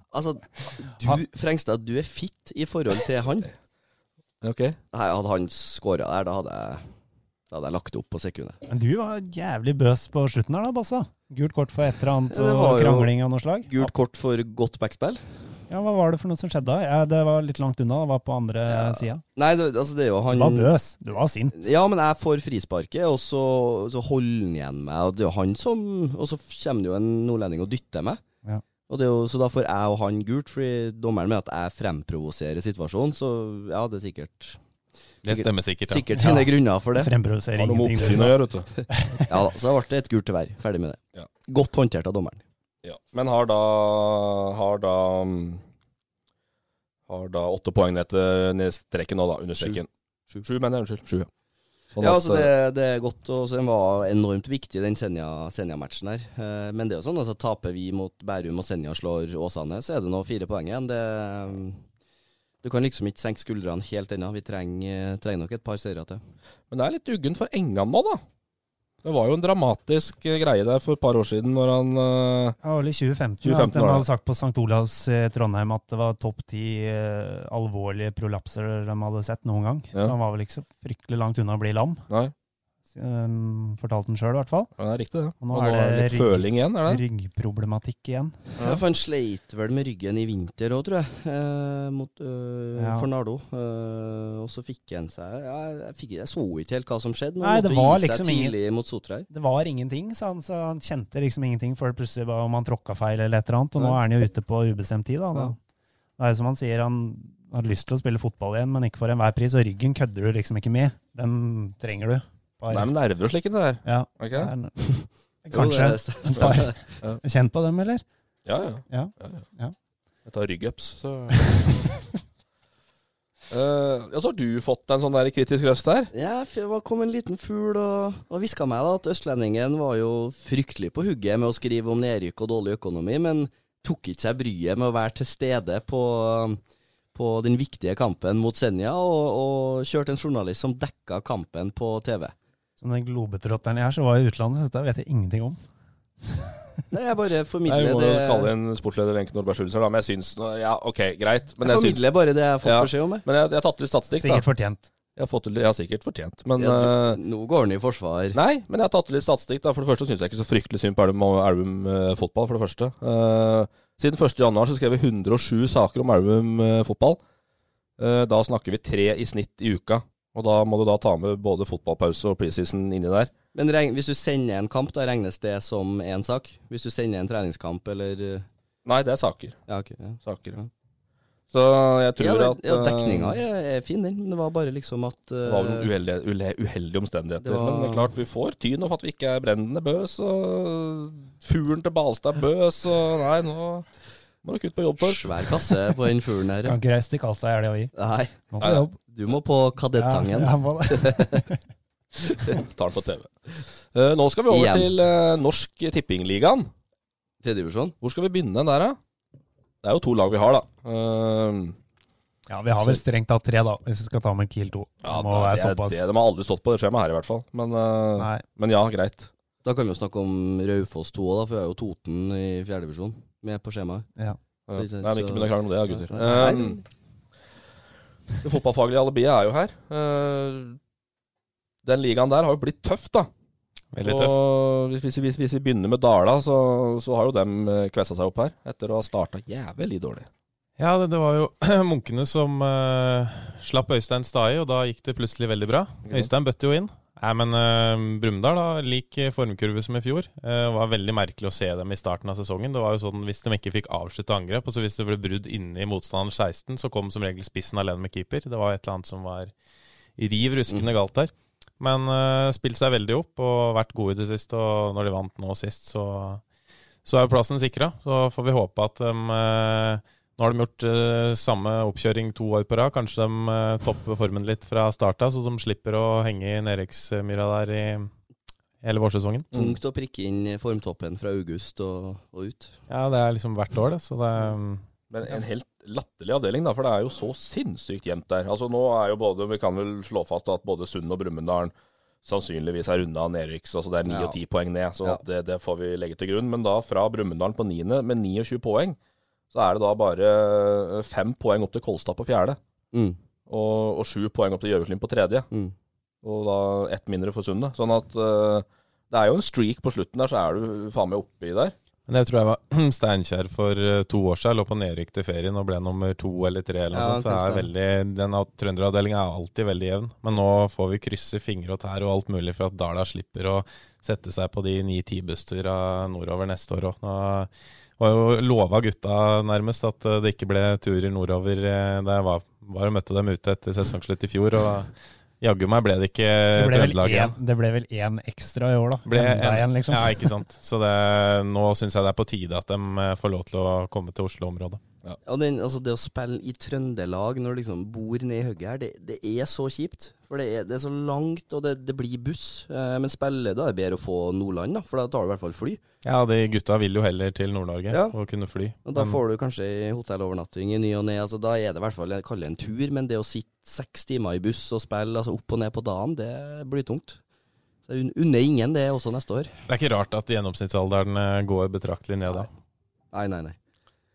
Altså,
Han-
du, Frengstad, du er fitt i forhold til han.
Ok.
Nei, hadde han skåra der, da hadde, jeg, da hadde jeg lagt opp på sekundet.
Men du var jævlig bøs på slutten her, da, Bassa. Gult kort for et eller annet
Ja, det var
og
jo-
krangling av noe slag.
Gult kort for godt backspill.
Ja, Hva var det for noe som skjedde da? Ja, det var litt langt unna. Det var på andre sida.
Nei, det, altså, det er jo
Du
han
var bøs. Du var sint.
Ja, men jeg får frisparket, og så, så holder han igjen meg. Og det er jo han som Og så kommer det jo en nordlending og dytter meg.
Ja.
Og det er jo, så da får jeg og han gult, fordi dommeren mener at jeg fremprovoserer situasjonen. Så ja, det er sikkert
Det stemmer sikkert. Ja.
Sikkert sine grunner for det.
(laughs) Fremproduserer
Har noe med
ingenting. det du
oppsyn å
sa.
gjøre, vet du.
Ja da, Så da ble det et gult til hver. Ferdig med det.
Ja.
Godt håndtert av dommeren.
Ja. Men har da Har da mm, Har da åtte poeng ned til ned streken nå, da. Under streken. Sju, mener jeg. Unnskyld. Sju. ja. Sånn
Ja,
at,
altså det,
eh,
det er godt, og så den var enormt viktig, den Senja- Senja-matchen her. Eh, Men det er jo sånn, altså taper vi mot Bærum og Senja slår Åsane, så er det nå fire poeng igjen. Det, eh, du kan liksom ikke senke skuldrene helt ennå. Vi trenger, trenger nok et par seire til.
Men det er litt uggent for Engan nå, da. Det var jo en dramatisk eh, greie der for et par år siden, når han eh,
Ja, eller 2015.
2015
at de
var det.
hadde sagt på St. Olavs i Trondheim at det var topp ti eh, alvorlige prolapser de hadde sett noen gang.
Ja.
Så han var vel ikke så fryktelig langt unna å bli lam.
Nei,
Um, fortalte han sjøl, i hvert fall.
ja, det er riktig, det.
Og nå
Og
er det
litt
rygg-
føling igjen, er det?
Ryggproblematikk igjen.
Ja. For han sleit vel med ryggen i vinter òg, tror jeg, eh, mot, øh,
Ja.
for Nardo. Eh, og så fikk han seg ja, jeg, fikk, jeg så ikke helt hva som skjedde, men
Nei,
han
det
måtte
var
gi seg
liksom ingen-
tidlig mot Sotra her.
Det var ingenting, sa han, så han kjente liksom ingenting før det plutselig var om han tråkka feil eller et eller annet. Og nå er han jo ute på ubestemt tid, da.
Ja.
Det, det er jo som han sier, han har lyst til å spille fotball igjen, men ikke for enhver pris. Og ryggen kødder du liksom ikke med. Den trenger du. Bare-
Det er med nerver og slikt, det der.
ja.
Er (laughs)
det
ikke det?
er no- Kanskje.
Jo, det,
(laughs) Bare- Kjent på dem, eller?
Ja, ja.
Ja.
ja, ja.
Ja.
Jeg tar ryggups, så (laughs) Eh, ja, så har du fått en sånn der kritisk røst der.
Ja, for det var- kom en liten fugl og, og hviska meg da at østlendingen var jo fryktelig på hugget med å skrive om nedrykk og dårlig økonomi, men tok ikke seg bryet med å være til stede på, på den viktige kampen mot Senja, og, og kjørte en journalist som dekka kampen på TV.
Så den globetrotteren jeg er, så var i utlandet. Dette vet jeg ingenting om.
Nei, jeg bare
Nei, vi
formidler
må jo kalle
det.
inn sportsleder Wenche Nordberg Schulzer, da, men jeg syns nå- Ja, OK, greit. Men jeg
Jeg
syns
formidler bare det jeg har fått
Ja.
beskjed om. Jeg.
Men jeg, jeg har tatt litt statistikk, da.
Sikkert fortjent.
Jeg har, fått, til- jeg har sikkert fortjent, men
Ja,
eh,
du, nå går han i forsvar.
Nei, men jeg har tatt litt statistikk. da For det første syns jeg ikke så fryktelig synd på Elvum Elvum, eh, fotball. For det første Eh, Siden 1. januar så skrev vi 107 saker om Elvum eh, fotball. Eh, da snakker vi tre i snitt i uka. Og da må du da ta med både fotballpause og preseason inni der.
Men regn, hvis du sender en kamp, da regnes det som én sak? Hvis du sender en treningskamp, eller eh,
Nei, det er saker.
Ja, ok. Ja.
saker.
Ja.
Så jeg tror
ja, det-
at
ja, dekninga
eh,
er, er fin, den. men Det var bare liksom at
Det var vel uheldige, ule- uheldige omstendigheter.
Det var-
Men det er klart, vi får tyn for at vi ikke er brennende bøs, og fuglen til Balstad bøs, og nei, nå må du kutte på jobb
eh,
for.
Svær kasse på den fuglen her. ja.
Kan ikke reise til Kalstad i helga, vi.
Nei,
Må på jobb.
du må på Kadettangen.
Ja, jeg må det.
Tar den på TV. Eh, nå skal vi over
Igjen.
til eh, Norsk Tippingligaen.
Tredjedivisjon.
Hvor skal vi begynne der, da? Det er jo to lag vi har, da. Eh,
(laughs) ja, vi har vel strengt tatt tre, da, hvis vi skal ta med Kiel 2.
ja,
det må
det,
være
er det,
såpass.
de har aldri stått på det skjemaet her, i hvert fall. Men, eh,
Nei.
men ja, greit.
Da kan vi jo snakke om Raufoss 2 òg, for vi har jo Toten i fjerdedivisjon med på skjemaet.
Ja.
Ja.
Så-
Eh, Nei, men ikke begynn å krangle om det, da, gutter.
Nei,
Eh,
nei.
Det fotballfaglige alibiet er jo her. Eh, Den ligaen der har jo blitt tøff, da.
Veldig tøff.
Og hvis, hvis, hvis, hvis vi begynner med Dala, så, så har jo dem eh, kvessa seg opp her. Etter å ha starta jævlig dårlig.
Ja, det, det var jo (clears throat) munkene som eh, slapp Øystein Stai, og da gikk det plutselig veldig bra.
Ikke
Øystein bøtte jo inn. Nei, men eh, Brumunddal, da, lik eh, formkurve som i fjor. Eh, Det var veldig merkelig å se dem i starten av sesongen. Det var jo sånn Hvis de ikke fikk avslutta angrep, og så hvis det ble brudd inne i motstanderens 16, så kom som regel spissen alene med keeper. Det var et eller annet som var riv ruskende galt der. Men uh, spilt seg veldig opp og vært gode i det siste, og når de vant nå sist, så, så er jo plassen sikra. Så får vi håpe at de eh, nå har de gjort eh, samme oppkjøring to år på rad. Kanskje de eh, topper formen litt fra starta, så de slipper å henge i nedrykksmyra der i hele vårsesongen.
Tungt å prikke inn formtoppen fra august og, og ut.
Ja, det er liksom hvert år, det. Så det er mm,
Men en helt latterlig avdeling, da, for det er jo så sinnssykt jevnt der. Altså nå er jo både, Vi kan vel slå fast at både Sund og Brumunddal sannsynligvis er runda nedrykks. Altså det er ni
Ja.
og ti poeng ned, så
Ja.
at det, det får vi legge til grunn. Men da fra Brumunddal på niende med 29 poeng, så er det da bare eh, fem poeng opp til Kolstad på fjerde.
Mm.
Og, og sju poeng opp til Gjøviklyn på tredje.
Mm.
Og da ett mindre for Sundet. Sånn at eh, det er jo en streak på slutten der, så er du faen meg oppi der.
Men jeg tror jeg var (clears throat) Steinkjer for eh, to år siden. Lå på nedrykk til ferien og ble nummer to eller tre. eller noe
Ja,
sånt. Så det er
kanskje
veldig, den av- trønderavdelinga er alltid veldig jevn. Men nå får vi krysse fingre og tær og alt mulig for at Dala slipper å sette seg på de ni-ti bussturene nordover neste år òg. Nå var jo lova gutta nærmest at eh, det ikke ble turer nordover eh, da jeg var, var og møtte dem ute etter sesongslutt i fjor. og Jaggu meg ble det ikke
Det ble vel
Trøndelag igjen.
en- Det ble vel én ekstra i år, da.
Ble
Enda en, liksom.
Ja, ikke sant. Så det, nå syns jeg det er på tide at de eh, får lov til å komme til Oslo-området.
Og den, altså det å spille i Trøndelag når du liksom bor nede i hugget her, det, det er så kjipt. For det er, det er så langt, og det, det blir buss. Eh, men spille, da er det bedre å få Nordland, da, for da tar du i hvert fall fly.
Ja, de gutta vil jo heller til Nord-Norge
Ja.
og kunne fly.
Og da
Men-
får du kanskje hotellovernatting i ny og ne. Altså, da er det i hvert fall jeg kaller det en tur, men det å sitte seks timer i buss og spille altså opp og ned på dagen, det blir tungt. Så jeg un- unner ingen det også neste år.
det er ikke rart at gjennomsnittsalderen eh, går betraktelig ned da.
Nei, nei, nei.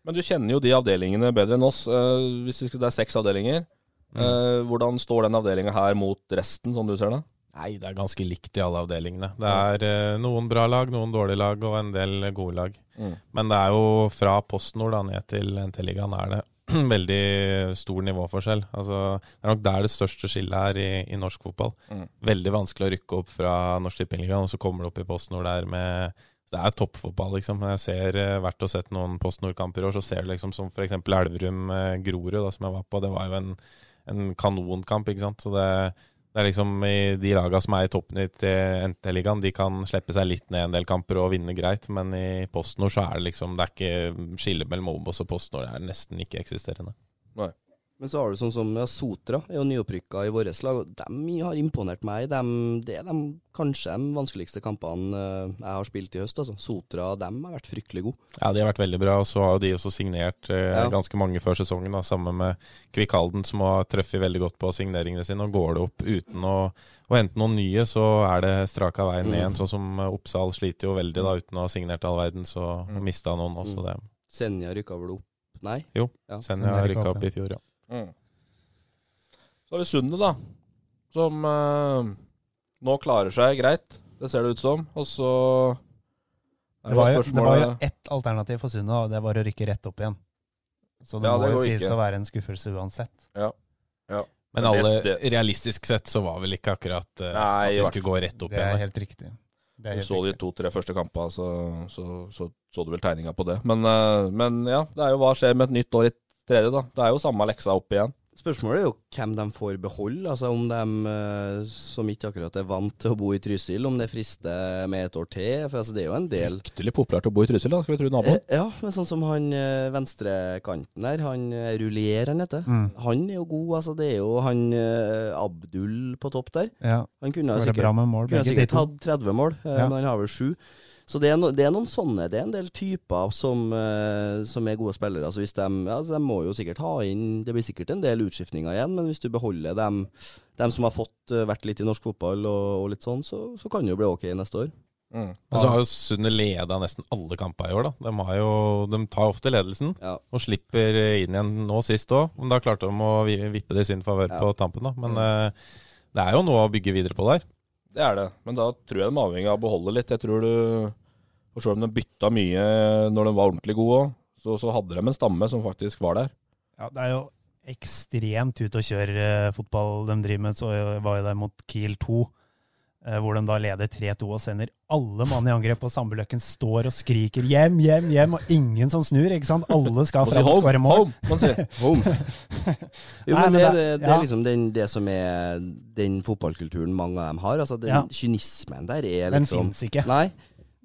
Men du kjenner jo de avdelingene bedre enn oss. eh, hvis vi skal, Det er seks avdelinger. Eh, hvordan står den avdelinga her mot resten, som du ser det?
Nei, det er ganske likt i alle avdelingene. Det er eh, noen bra lag, noen dårlige lag og en del gode lag.
Mm.
Men det er jo fra PostNord da, ned til NT-ligaen er det (clears throat) veldig stor nivåforskjell. Altså, det er nok der det største skillet er i, i norsk fotball.
Mm.
Veldig vanskelig å rykke opp fra Norsk Tippingligaen, og så kommer du opp i PostNord der med det er toppfotball, liksom. Jeg ser eh, vært og sett noen PostNord-kamper i år, så ser du liksom som f.eks. Elverum-Grorud, eh, da, som jeg var på. Det var jo en, en kanonkamp, ikke sant. Så det, det er liksom i de laga som er i toppen i NT-ligaen, de kan slippe seg litt ned en del kamper og vinne greit, men i PostNord så er det liksom Det er ikke skille mellom Obos og PostNord er nesten ikke eksisterende.
Men så har du sånn som ja, Sotra, er jo nyopprykka i vårt lag, og de har imponert meg. Dem- det er de, kanskje de vanskeligste kampene eh, jeg har spilt i høst. Altså. Sotra dem har vært fryktelig gode.
Ja, de har vært veldig bra, og så har jo de også signert eh,
Ja.
ganske mange før sesongen, da, sammen med Kvikkhalden, som har treffet veldig godt på signeringene sine. Og går det opp uten å, å hente noen nye, så er det straka veien ned igjen. Sånn som eh, Oppsal sliter jo veldig da, uten å ha signert all verden, så mm. mista noen også det.
Senja rykka vel opp? Nei?
Jo,
Ja.
Senja
Senja rykket
rykka
opp,
opp i fjor, ja.
Mm. Så har vi Sunde, da. Som eh, nå klarer seg greit. Det ser det ut som. Og så er
Det var, jo, det var jo
spørsmålet-
ett alternativ for Sunna, og det var å rykke rett opp igjen. Så det
Ja,
må
det
jo
går
sies
ikke.
å være en skuffelse uansett.
Men
Men
alle,
det-
realistisk sett så var vel ikke akkurat eh,
Nei, i
at de
hvert
skulle gå rett opp
Det er
igjen.
helt riktig. Det er
Du
helt
så de
riktig.
to-tre første kampene, så så, så så du vel tegninga på det. Men, eh, men ja, det er jo hva skjer med et nytt år i tredje, da. Det er jo samme leksa opp igjen.
Spørsmålet er jo hvem de får beholde. Altså om de eh, som ikke akkurat er vant til å bo i Trysil, om det frister med et år til. For altså, det er jo en del
Fryktelig populært å bo i Trysil, da, skal vi tro
Eh,
naboen.
Ja, men sånn som han eh, venstrekanten der, han eh, Rullier, han heter.
Mm.
Han er jo god, altså. Det er jo han eh, Abdul på topp der.
Ja,
Han
det
kunne
var
ha
det bra
sikkert,
med mål,
kunne
begge
ha
de
sikkert
to.
hatt 30 mål, eh,
Ja.
men han har vel 7. Så det er, no, det er noen sånne. Det er en del typer som, eh, som er gode spillere. Altså hvis de, ja, så de må jo sikkert ha inn Det blir sikkert en del utskiftninger igjen, men hvis du beholder dem, dem som har fått eh, vært litt i norsk fotball og, og litt sånn, så, så kan det jo bli ok neste år.
Mm.
Men
Altså,
så har jo Sunde leda nesten alle kamper i år, da. De, har jo, de tar ofte ledelsen
Ja.
og slipper inn igjen nå sist òg. Men da klarte de å vi- vippe det i sin favør
Ja.
på tampen, da.
Mm.
Men eh, det er jo noe å bygge videre på der.
Det er det, men da tror jeg de er avhengig av å beholde litt. Jeg tror du Og selv om de bytta mye når de var ordentlig gode òg, så, så hadde de en stamme som faktisk var der.
Ja, det er jo ekstremt ut å kjøre eh, fotball de driver med. Så var jo der mot Kiel 2, eh, hvor de da leder 3-2 og sender alle mann i angrep, og Sandbuløkken står og skriker 'hjem, hjem, hjem', og ingen som snur, ikke sant? Alle skal
Man sier
fram og
home,
skåre mål.
home,
(laughs)
man sier.
Jo,
Nei,
men
men
det,
det-
det, det
ja.
er liksom den, det som er den fotballkulturen mange av dem har. Altså den
Ja.
kynismen der er
sånn.
Den
liksom
fins ikke.
Nei.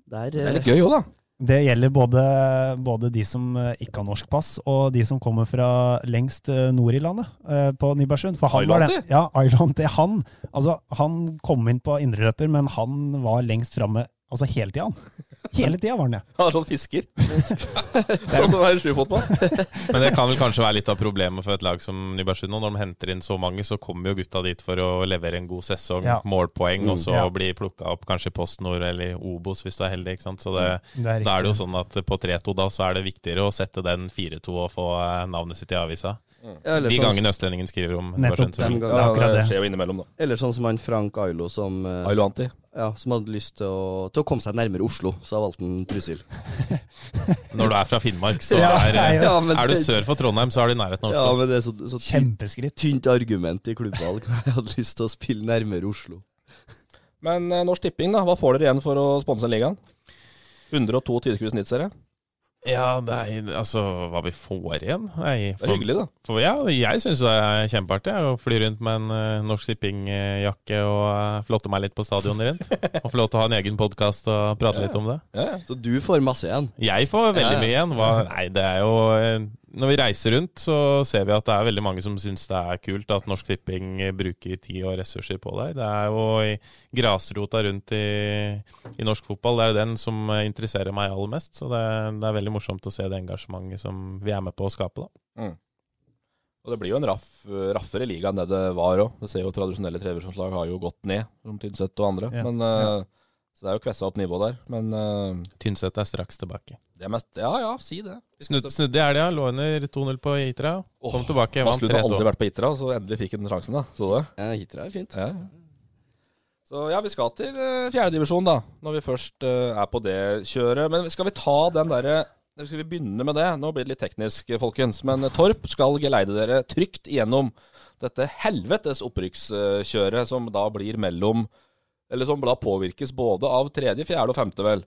Der,
Det er
eh,
litt gøy òg, da.
Det gjelder både, både de som eh, ikke har norsk pass, og de som kommer fra lengst eh, nord i landet, eh, på Nybergsund. For han var den, ja, Island til han. Altså, han kom inn på indreløper, men han var lengst framme altså, hele tida. han. Hele tida var han det.
Han er sånn fisker. sånn som det er i sjufotball.
(laughs)
Men det kan vel kanskje være litt av problemet for et lag som Nybergsund. nå. Når de henter inn så mange, så kommer jo gutta dit for å levere en god sesong,
Ja.
målpoeng, og så
ja.
bli plukka opp kanskje i PostNord eller Obos, hvis du er heldig. ikke sant? Så det,
Mm, Det er
da er det jo
riktig.
sånn at på 3-2 da, så er det viktigere å sette den 4-2 og få eh, navnet sitt i avisa.
ja, eller,
De
sånn,
gangene østlendingen skriver om
Nettopp.
Nybergsund. så-
Dem
Ja,
gang-
Det er akkurat
det
det.
skjer jo innimellom, da.
eller sånn som han Frank Ailo som, eh,
Ailanti.
ja, som hadde lyst til å, til å komme seg nærmere Oslo, så valgte han
(laughs)
Trysil.
Når du er fra Finnmark, så
Ja,
er,
ja, ja.
Ja, men
er du
det-
sør for Trondheim, så er du i nærheten av
Ja,
Oslo.
men det er så, så tynt,
Kjempeskritt.
tynt argument i klubbvalg. (laughs) Jeg hadde lyst til å spille nærmere Oslo.
Men eh, Norsk Tipping, da. Hva får dere igjen for å sponse ligaen? 102 tidskurs snittserie.
Ja, det er, altså, hva vi får igjen Nei,
Det er hyggelig, da.
For, ja, jeg syns det er kjempeartig jeg, å fly rundt med en eh, Norsk Tipping-jakke og eh, flotte meg litt på stadionet rundt. Og få lov til å ha en egen podkast og prate litt om det.
Så du får masse igjen.
Jeg får veldig
Ja, ja.
mye igjen. Hva, nei, det er jo eh, Når vi reiser rundt, så ser vi at det er veldig mange som syns det er kult at Norsk Tipping bruker tid og ressurser på det. her. Det er jo i grasrota rundt i, i norsk fotball. Det er jo den som eh, interesserer meg aller mest. Så det, det er veldig morsomt å se det engasjementet som vi er med på å skape, da.
Og det blir jo en raff, raffere liga enn det det var òg. Du ser jo tradisjonelle trevisjonslag har jo gått ned, som Tynset og andre.
Ja,
Men, eh, Så det er jo kvessa opp nivået der. Men eh,
Tynset er straks tilbake.
det er mest Ja ja, si det.
Snudd, snudde i helga, lå under 2-0 på Itra. Kom
Åh,
tilbake, vant
Vassklund har aldri
3-2.
vært på Itra, så endelig fikk han sjansen, da. Så det.
Ja, Hitra er fint.
Ja. Så ja, vi skal til eh, fjerdedivisjon, da. Når vi først eh, er på det kjøret. Men skal vi ta den derre Skal vi begynne med det? Nå blir det litt teknisk, eh, folkens. Men eh, Torp skal geleide dere trygt igjennom dette helvetes opprykkskjøret som da blir mellom Eller som da påvirkes både av tredje, fjerde og femte, vel.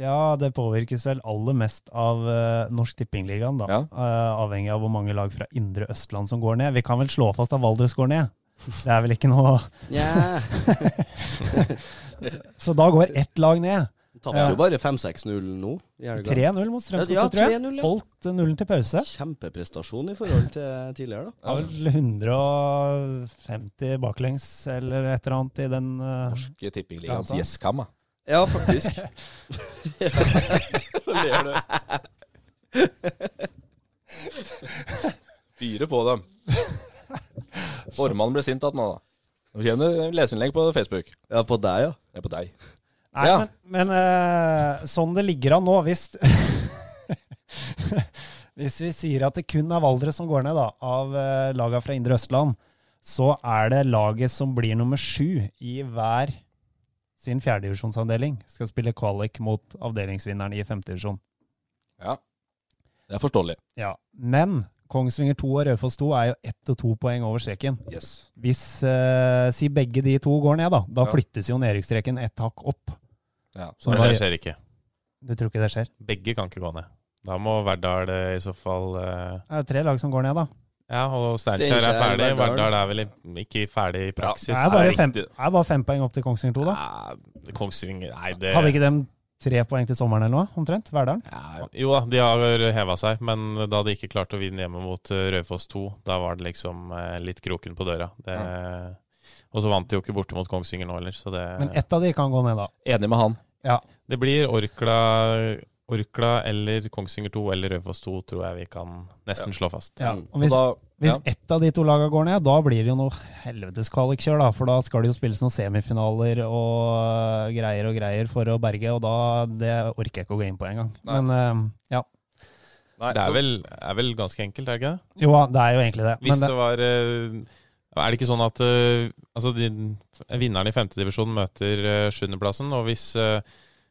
Ja, det påvirkes vel aller mest av eh, Norsk Tippingligaen, da.
Ja.
Eh, avhengig av hvor mange lag fra Indre Østland som går ned. Vi kan vel slå fast at Valdres går ned. Det er vel (laughs) ikke noe
Nja
Så da går ett lag ned.
Tapte
Ja.
jo bare 5-6-0 nå. i helga.
3-0 mot Strømsgodset,
Ja,
tror jeg.
3-0, ja.
Holdt eh, nullen til pause.
Kjempeprestasjon i forhold til tidligere, da.
Har vel 150 baklengs eller et eller annet i den eh,
Norske tippingligaens
Ja, da.
Yes-kam. da.
Ja,
(laughs)
faktisk.
Fyre på dem. Formannen blir sint igjen nå, da. Nå kommer det leserinnlegg på Facebook.
Ja, på deg, ja.
Det er på deg.
Nei,
Ja.
men, men eh, sånn det ligger an nå, hvis (laughs) Hvis vi sier at det kun er Valdres som går ned, da, av uh, laga fra Indre Østland, så er det laget som blir nummer sju i hver sin fjerdedivisjonsavdeling, skal spille kvalik mot avdelingsvinneren i femtedivisjon.
Ja. Det er forståelig.
Ja. Men Kongsvinger 2 og Raufoss 2 er jo ett og to poeng over streken.
Yes.
Hvis eh, si begge de to går ned, da, da
Ja.
flyttes jo nedrykksstreken ett hakk opp.
Ja.
Så
Det
det var-
skjer, skjer ikke.
Du tror ikke det skjer?
Begge kan ikke gå ned. Da må Verdal eh, i så fall eh,
Det er tre lag som går ned, da.
Ja, og Steinkjer er
Steinkjer,
ferdig.
Verdal.
Verdal er vel i- ikke ferdig i praksis.
Det er bare,
Nei,
fem, det er bare fem poeng opp til Kongsvinger 2, da.
Nei, Kongsvinger Nei, det
Hadde ikke dem tre poeng til sommeren eller noe, omtrent? Verdalen?
Ja, Jo da, de har heva seg, men da de ikke klarte å vinne hjemme mot eh, Raufoss 2, da var det liksom eh, litt kroken på døra. Det, Og så vant de jo ikke borte mot Kongsvinger nå heller, så det,
Men ett av de kan gå ned, da.
Enig med han.
Ja.
det blir Orkla, Orkla eller Kongsvinger 2 eller Raufoss 2, tror jeg vi kan nesten slå fast.
ja. Og
Og
hvis,
da,
hvis
ja.
ett av de to lagene går ned, da blir det jo noe helvetes kvalikkjør, da. For da skal det jo spilles noen semifinaler og øh, greier og greier for å berge, og da Det orker jeg ikke å gå inn på engang.
Nei.
Men øh, ja.
Nei,
Det er
så-
vel, er vel ganske enkelt, er det ikke det?
Jo, det er jo egentlig det.
Hvis
Men
det,
det,
var eh, Er det ikke sånn at eh, altså, de, vinneren i femtedivisjon møter eh, sjuendeplassen, og hvis, eh,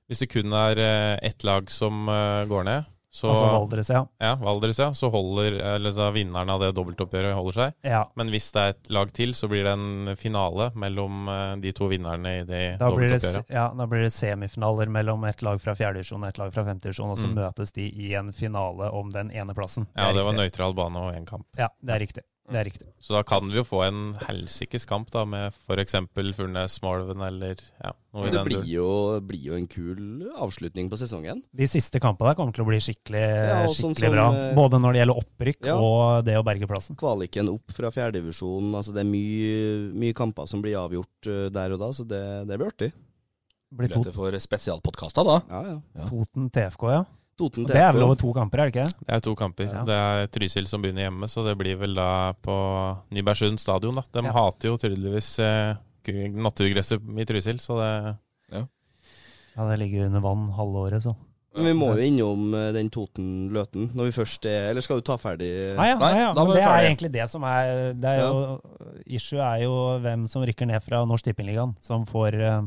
hvis det kun er eh, ett lag som eh, går ned, så
altså Valdres, ja.
ja, Valdres, ja, så holder eller, så vinneren av det dobbeltoppgjøret holder seg.
ja.
Men hvis det er et lag til, så blir det en finale mellom eh, de to vinnerne i det
Da blir, det,
dobbeltoppgjøret.
ja, da blir det semifinaler mellom et lag fra fjerdedivisjon og et lag fra femtedivisjon, og så
Mm.
møtes de i en finale om den ene plassen.
Ja, det
er
var
riktig.
nøytral bane og én kamp.
Ja, det er riktig. Det er riktig.
Så da kan vi jo få en helsikes kamp da, med f.eks. Furnes, Malven eller ja, noe i
Det
den
blir
duren.
jo, blir jo en kul avslutning på sesongen.
De siste kampene der kommer til å bli skikkelig,
Ja, og sånn
skikkelig
som,
bra.
eh,
Både når det gjelder opprykk
Ja.
og det å berge plassen.
Kvaliken opp fra fjerdedivisjon. Altså det er mye, mye kamper som blir avgjort eh, der og da, så det, det blir artig.
Det blir to,
Muligheter for spesialpodkasta, da.
Ja, ja.
Toten TFK, ja.
Toten
Det er vel
TFK.
over to kamper, er det ikke?
Det er to kamper.
Ja.
Det er Trysil som begynner hjemme, så det blir vel da på Nybergsund stadion. da. De
Ja.
hater jo tydeligvis eh, ku- naturgresset i Trysil, så det
Ja, det ligger under vann halve året, så.
Men vi må jo innom eh, den Toten-Løten når vi først er Eller skal du ta ferdig
Nei, ja,
Nei,
nei, ja.
da var
Men
vi
det er
ferdige.
egentlig det som er, det er jo, Issue er jo hvem som rykker ned fra Norsk Tippingligaen, som får eh,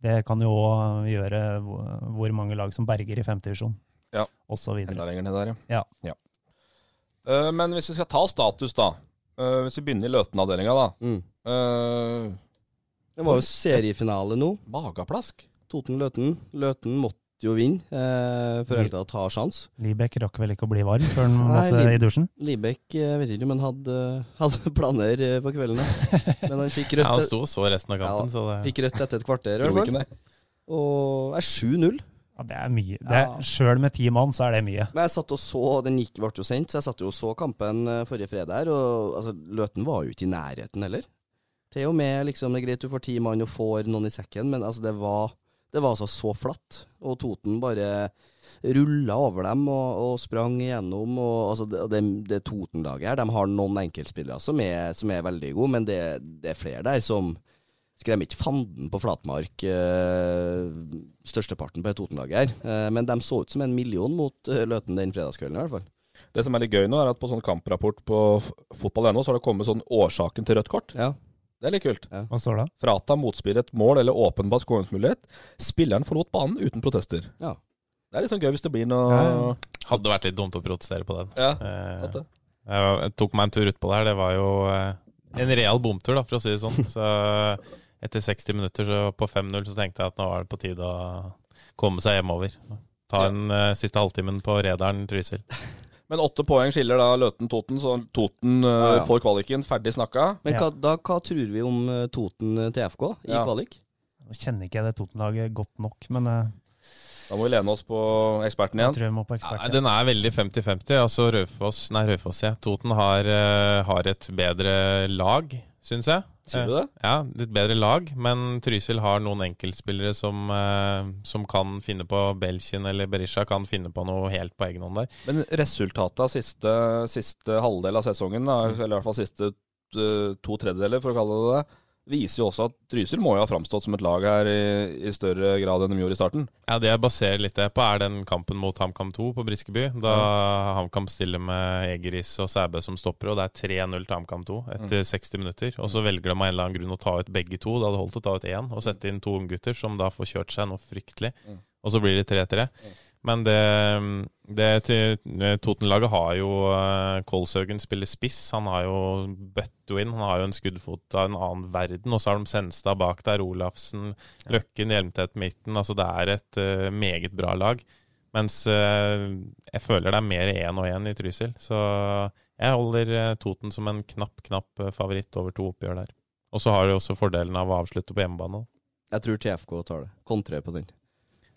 Det kan jo òg gjøre hvor hvor mange lag som berger i femtedivisjon,
Ja.
og så videre.
Enda lenger ned der,
Ja.
Eh, men hvis vi skal ta status, da. eh, hvis vi begynner i Løten-avdelinga, da.
Mm.
Eh,
Det var jo seriefinale nå.
magaplask.
Toten-Løten. Løten måtte jo vinne eh, for egentlig å ta sjans.
Libek rakk vel ikke å bli varm før han
Nei,
måtte
Lib-
i
(laughs)
dusjen?
Libek eh, vet ikke, men hadde, (laughs) hadde planer eh, på kvelden. da. Men han fikk
ja, Han
rødt,
sto og så resten av kampen,
Ja,
så det
fikk rødt etter et kvarter, i
Tror du
hvert
ikke
fall.
det?
Og er 7-0.
Ja, det er mye. Det
Ja.
er- Sjøl med ti mann, så er det mye.
Men jeg satt og så, den gikk, ble jo sendt, så jeg satt jo og så kampen eh, forrige fredag her, og altså, Løten var jo ikke i nærheten heller. Til og med, liksom, det er greit du får ti mann og får noen i sekken, men altså, det var, det var altså så flatt, og Toten bare rulla over dem og, og sprang igjennom, og altså, det, og det, det Toten-laget her, de har noen enkeltspillere som er, som er veldig gode, men det, det er flere der som skremmer ikke fanden på flatmark, eh, størsteparten på et Toten-laget her. Eh, men de så ut som en million mot eh, Løten den fredagskvelden, i hvert fall.
Det som er litt gøy nå, er at på sånn kamprapport på f- fotball.no, så har det kommet sånn årsaken til rødt kort.
Ja.
Det er litt kult.
Hva står det?
Frata motspiller et mål eller åpenbar skåringsmulighet. Spilleren forlot banen uten protester.
Ja.
Det er litt sånn gøy hvis det blir
Ja,
noe
hadde vært litt dumt å protestere på den.
Ja,
Eh,
sant det.
jeg jeg tok meg en tur utpå der. Det var jo eh, en real bomtur, da, for å si det (laughs) sånn. Så etter 60 minutter så på 5-0 så tenkte jeg at nå var det på tide å komme seg hjemover. Ta en eh, siste halvtimen på Rederen Trysil.
Men åtte poeng skiller da Løten-Toten, så Toten eh,
Ja, ja.
får kvaliken. Ferdig snakka.
Men
Ja.
hva, da, hva tror vi om eh, Toten eh, TFK i
Ja.
kvalik?
Nå kjenner ikke jeg det Toten-laget godt nok, men eh,
Da må vi lene oss på eksperten
Jeg
igjen.
tror jeg må på ekspert.
Nei, den er veldig 50-50. Altså Raufoss Nei, Raufoss, ja. Toten har, eh, har et bedre lag, syns jeg.
Sier du
Eh,
det?
Ja, litt bedre lag. Men Trysil har noen enkeltspillere som, eh, som kan finne på Belkin eller Berisha kan finne på noe helt på egen hånd der.
Men resultatet av siste, siste halvdel av sesongen, da, eller i hvert fall siste eh, to tredjedeler, for å kalle det det, viser jo også at Trysil må jo ha framstått som et lag her i, i større grad enn de gjorde i starten.
Ja, Det jeg baserer litt det på, er den kampen mot HamKam 2 på Briskeby. Da HamKam stiller med Egeris og Sæbø som stopper, og det er 3-0 til HamKam 2 etter 60 minutter. Og så velger de av en eller annen grunn å ta ut begge to. Det hadde holdt å ta ut én og sette inn to unggutter, som da får kjørt seg noe fryktelig. Og så blir det 3-3. Men det, det til- eh, Toten-laget har jo eh, Kolshaugen spiller spiss. Han har jo bøtto inn. Han har jo en skuddfot av en annen verden. Og så har de Senstad bak der, Olafsen, Løkken, Hjelmtett midten. Altså det er et eh, meget bra lag. Mens eh, jeg føler det er mer én og én i Trysil. Så jeg holder eh, Toten som en knapp, knapp eh, favoritt over to oppgjør der. Og så har de også fordelen av å avslutte på hjemmebane. da.
Jeg tror TFK tar det. Kontrer på den.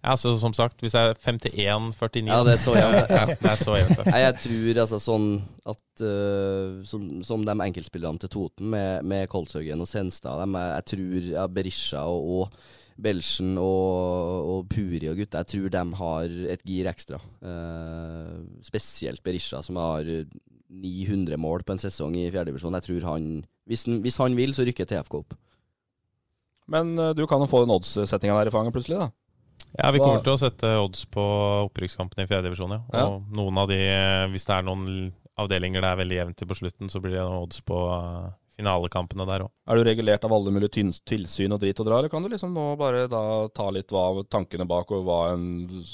Ja, altså som sagt, hvis jeg er 51-49
Ja, det er så jevnt.
(laughs) ja, det er så jevnt. ja.
Nei, jeg tror altså sånn at øh, som, som de enkeltspillerne til Toten med, med Kolshaugen og Senstad dem, er- Jeg tror ja, Berisha og, og Belsen og, og Puri og gutta Jeg tror de har et gir ekstra. Eh, spesielt Berisha, som har 900 mål på en sesong i fjerdedivisjon. Jeg tror han hvis, han hvis han vil, så rykker TFK opp.
Men eh, du kan jo få den oddssettinga der i fanget plutselig, da.
Ja, Vi kommer
Hva-
til å sette odds på opprykkskampen i fjerde divisjon. Ja. Og
Ja.
noen av de, eh, hvis det er noen avdelinger det er veldig jevnt til på slutten, så blir det noen odds på eh, finalekampene der òg.
Er du regulert av alle mulige tyns- tilsyn og drit og dra, eller kan du liksom nå bare da ta litt hva tankene bak og hva en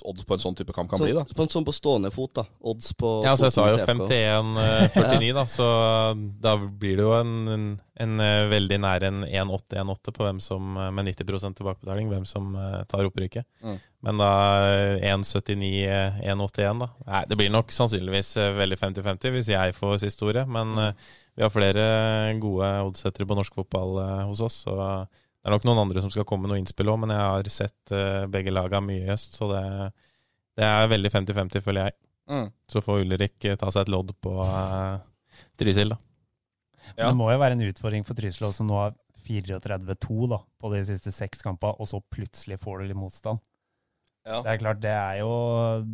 odds på en sånn type kamp kan
Så,
bli, da?
på, sånn på stående fot, da. Odds på
Ja, altså jeg sa jo
Toten og TFK. (laughs)
51-49, da, så eh, da blir det jo en, en, en eh, veldig nær en 1-8-1-8 på hvem som, eh, med 90 tilbakebetaling, hvem som eh, tar opprykket.
Mm.
Men da eh, 1-79-1-81, da. Nei, det blir nok sannsynligvis eh, veldig 50-50 hvis jeg får siste ordet, men
Mm.
eh, vi har flere gode oddsettere på norsk fotball eh, hos oss, så det er nok noen andre som skal komme med noe innspill òg, men jeg har sett eh, begge laga mye i høst, så det, det er veldig 50-50, føler jeg.
Mm.
Så får Ulrik eh, ta seg et lodd på eh, Trysil, da.
Ja.
Det må jo være en utfordring for Trysil, også, som nå har 34-2 da, på de siste seks kampene, og så plutselig får du litt motstand.
Ja.
Det er klart, det er jo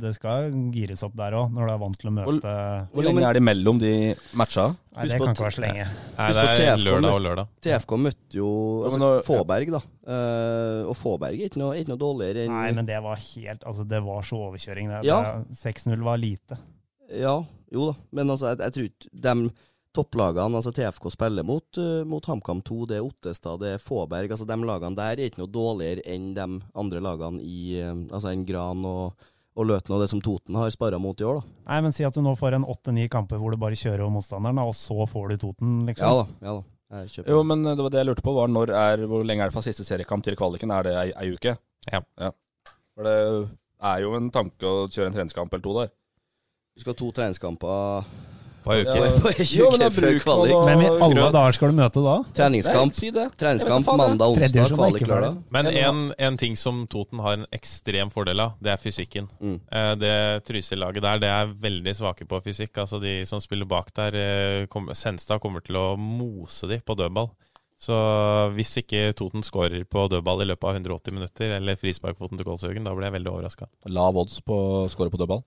Det skal gires opp der òg, når du er vant til å
Hvor-
møte
Hvor
Jo,
lenge
men-
er det mellom de matcha?
Nei, det
Husk på
kan
at-
ikke være så lenge.
Nei,
Husk
det
på
er
TFK
lørdag
møtte-
og lørdag.
TFK møtte jo
Ja,
altså,
men nå-
Fåberg, da. Eh, og Fåberg er ikke noe, er ikke noe dårligere enn
Nei, men det var helt Altså, det var så overkjøring. Det,
Ja.
det, 6-0 var lite.
Ja, jo da. Men altså, jeg, jeg tror ikke de topplagene altså TFK spiller mot, eh, mot HamKam 2, det er Ottestad, det er Fåberg altså De lagene der er ikke noe dårligere enn de andre lagene i eh, Altså enn Gran og, og Løten og det som Toten har sparra mot i år, da.
Nei, men si at du nå får en åtte-ni kamper hvor du bare kjører over motstanderen, da, og så får du Toten,
Ja
liksom.
da. ja da. Jeg kjøper.
Jo, men eh, det var det jeg lurte på, var når er, hvor lenge er det fra siste seriekamp til kvaliken? Er det ei, ei uke?
Ja.
For det er jo en tanke å kjøre en treningskamp eller to der.
Du skal ha to treningskamper
På ei uke.
Ja.
på ei
Jo, men da
uke før
bruker man
kvalik.
da-
Hvem i
Og
alle
grøt.
dager skal du møte
(laughs)
da?
Treningskamp,
Nei, si det. Jeg vet da faen,
treningskamp
jeg.
mandag,
Tredje
onsdag,
som er
kvalik
ikke
lørdag.
ferdig.
Men
Eller
en, en ting som Toten har en ekstrem fordel av, det er fysikken.
Mm.
Eh, Det Trysil-laget der, det er veldig svake på fysikk. Altså De som spiller bak der, eh, kom- Senstad kommer til å mose de på dødball. Så hvis ikke Toten skårer på dødball i løpet av 180 minutter, eller frisparkfoten til Kolshaugen, da blir jeg veldig overraska.
Lav odds på å score på dødball.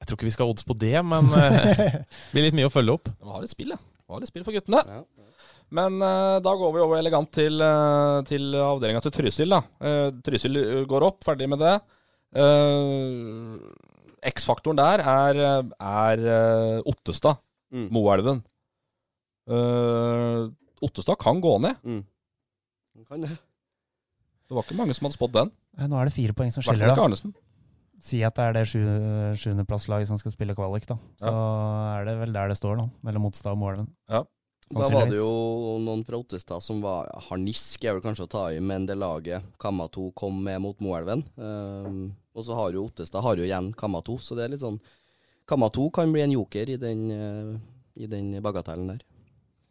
Jeg tror ikke vi skal ha odds på det, men eh, (laughs) det blir litt mye å følge opp.
De har litt spill, ja. De har litt spill for guttene. Men eh, da går vi over elegant til, uh, til avdelinga til Trysil, da. Eh, Trysil går opp, ferdig med det. Eh, X-faktoren der er, er eh, Ottestad,
Mm.
Moelven. Eh, Ottestad kan gå ned.
mm. Kan det.
Det var ikke mange som hadde spådd den.
Nei, Nå er det fire poeng
I
som
hvert fall
skiller, da.
ikke Arnesen.
Si at det er det sju- sjuendeplasslaget som skal spille kvalik, da. Så er det vel der det står, da. Mellom Odstad og Moelven.
Ja.
Da var det
Sannsynligvis.
jo noen fra Ottestad som var ja, harnisk, er vel kanskje å ta i, men det laget Kamma 2 kom med mot Moelven. Ehm, og så har jo Ottestad har jo igjen Kamma 2, så det er litt sånn Kamma 2 kan bli en joker i den, eh, i den bagatellen der.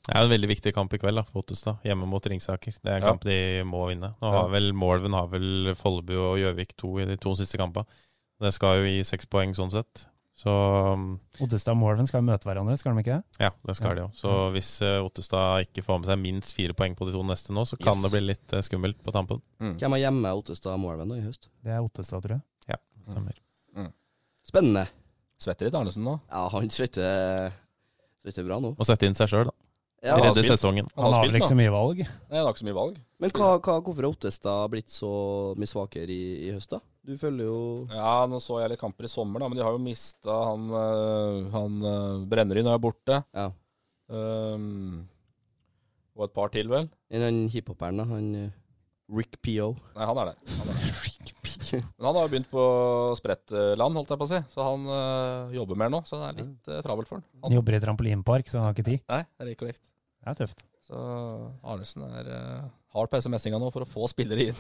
Det er en veldig viktig kamp i kveld, da, for Ottestad. Hjemme mot Ringsaker. Det er en
Ja.
kamp de må vinne. Nå
Ja.
har vel Målven har vel Follebu og Gjøvik to i de to siste kampene. Det skal jo gi seks poeng sånn sett. Så um,
Ottestad og Morven skal møte hverandre, skal de ikke det?
ja, det skal de jo. Så
Mm.
hvis eh, Ottestad ikke får med seg minst fire poeng på de to neste nå, så kan
Yes.
det bli litt eh, skummelt på tampen.
Mm.
Hvem er hjemme Ottestad og Morven da i høst?
Det er Ottestad, tror jeg.
Stemmer.
Spennende.
Svetter litt Arnesen nå.
Ja, han svetter Svetter bra nå.
Å sette inn seg sjøl, da.
Ja,
han har
Redde
spilt.
sesongen.
Han
Han
har liksom-
har vel
spilt,
ikke så mye valg.
Det er ikke så mye valg.
Men hva, hva, hvorfor har Ottestad blitt så mye svakere i, i høst, da? Du følger jo
Ja, nå så jeg litt kamper i sommer, da, men de har jo mista han, øh, han øh, Brennerin er borte.
Ja.
Ehm, og et par til, vel?
en av den hiphoperen, da. Han eh, Rick P.O.
Nei, han er der. Han er der. Men han har jo begynt på sprettland, holdt jeg på å si, så han øh, jobber mer nå. Så det er litt øh, travelt for han.
Han
han
jobber i trampolinpark, så han har ikke tid.
nei, det er ikke korrekt.
Det er tøft.
Så Arnesen er øh, hard på SMS-inga nå for å få spillere inn.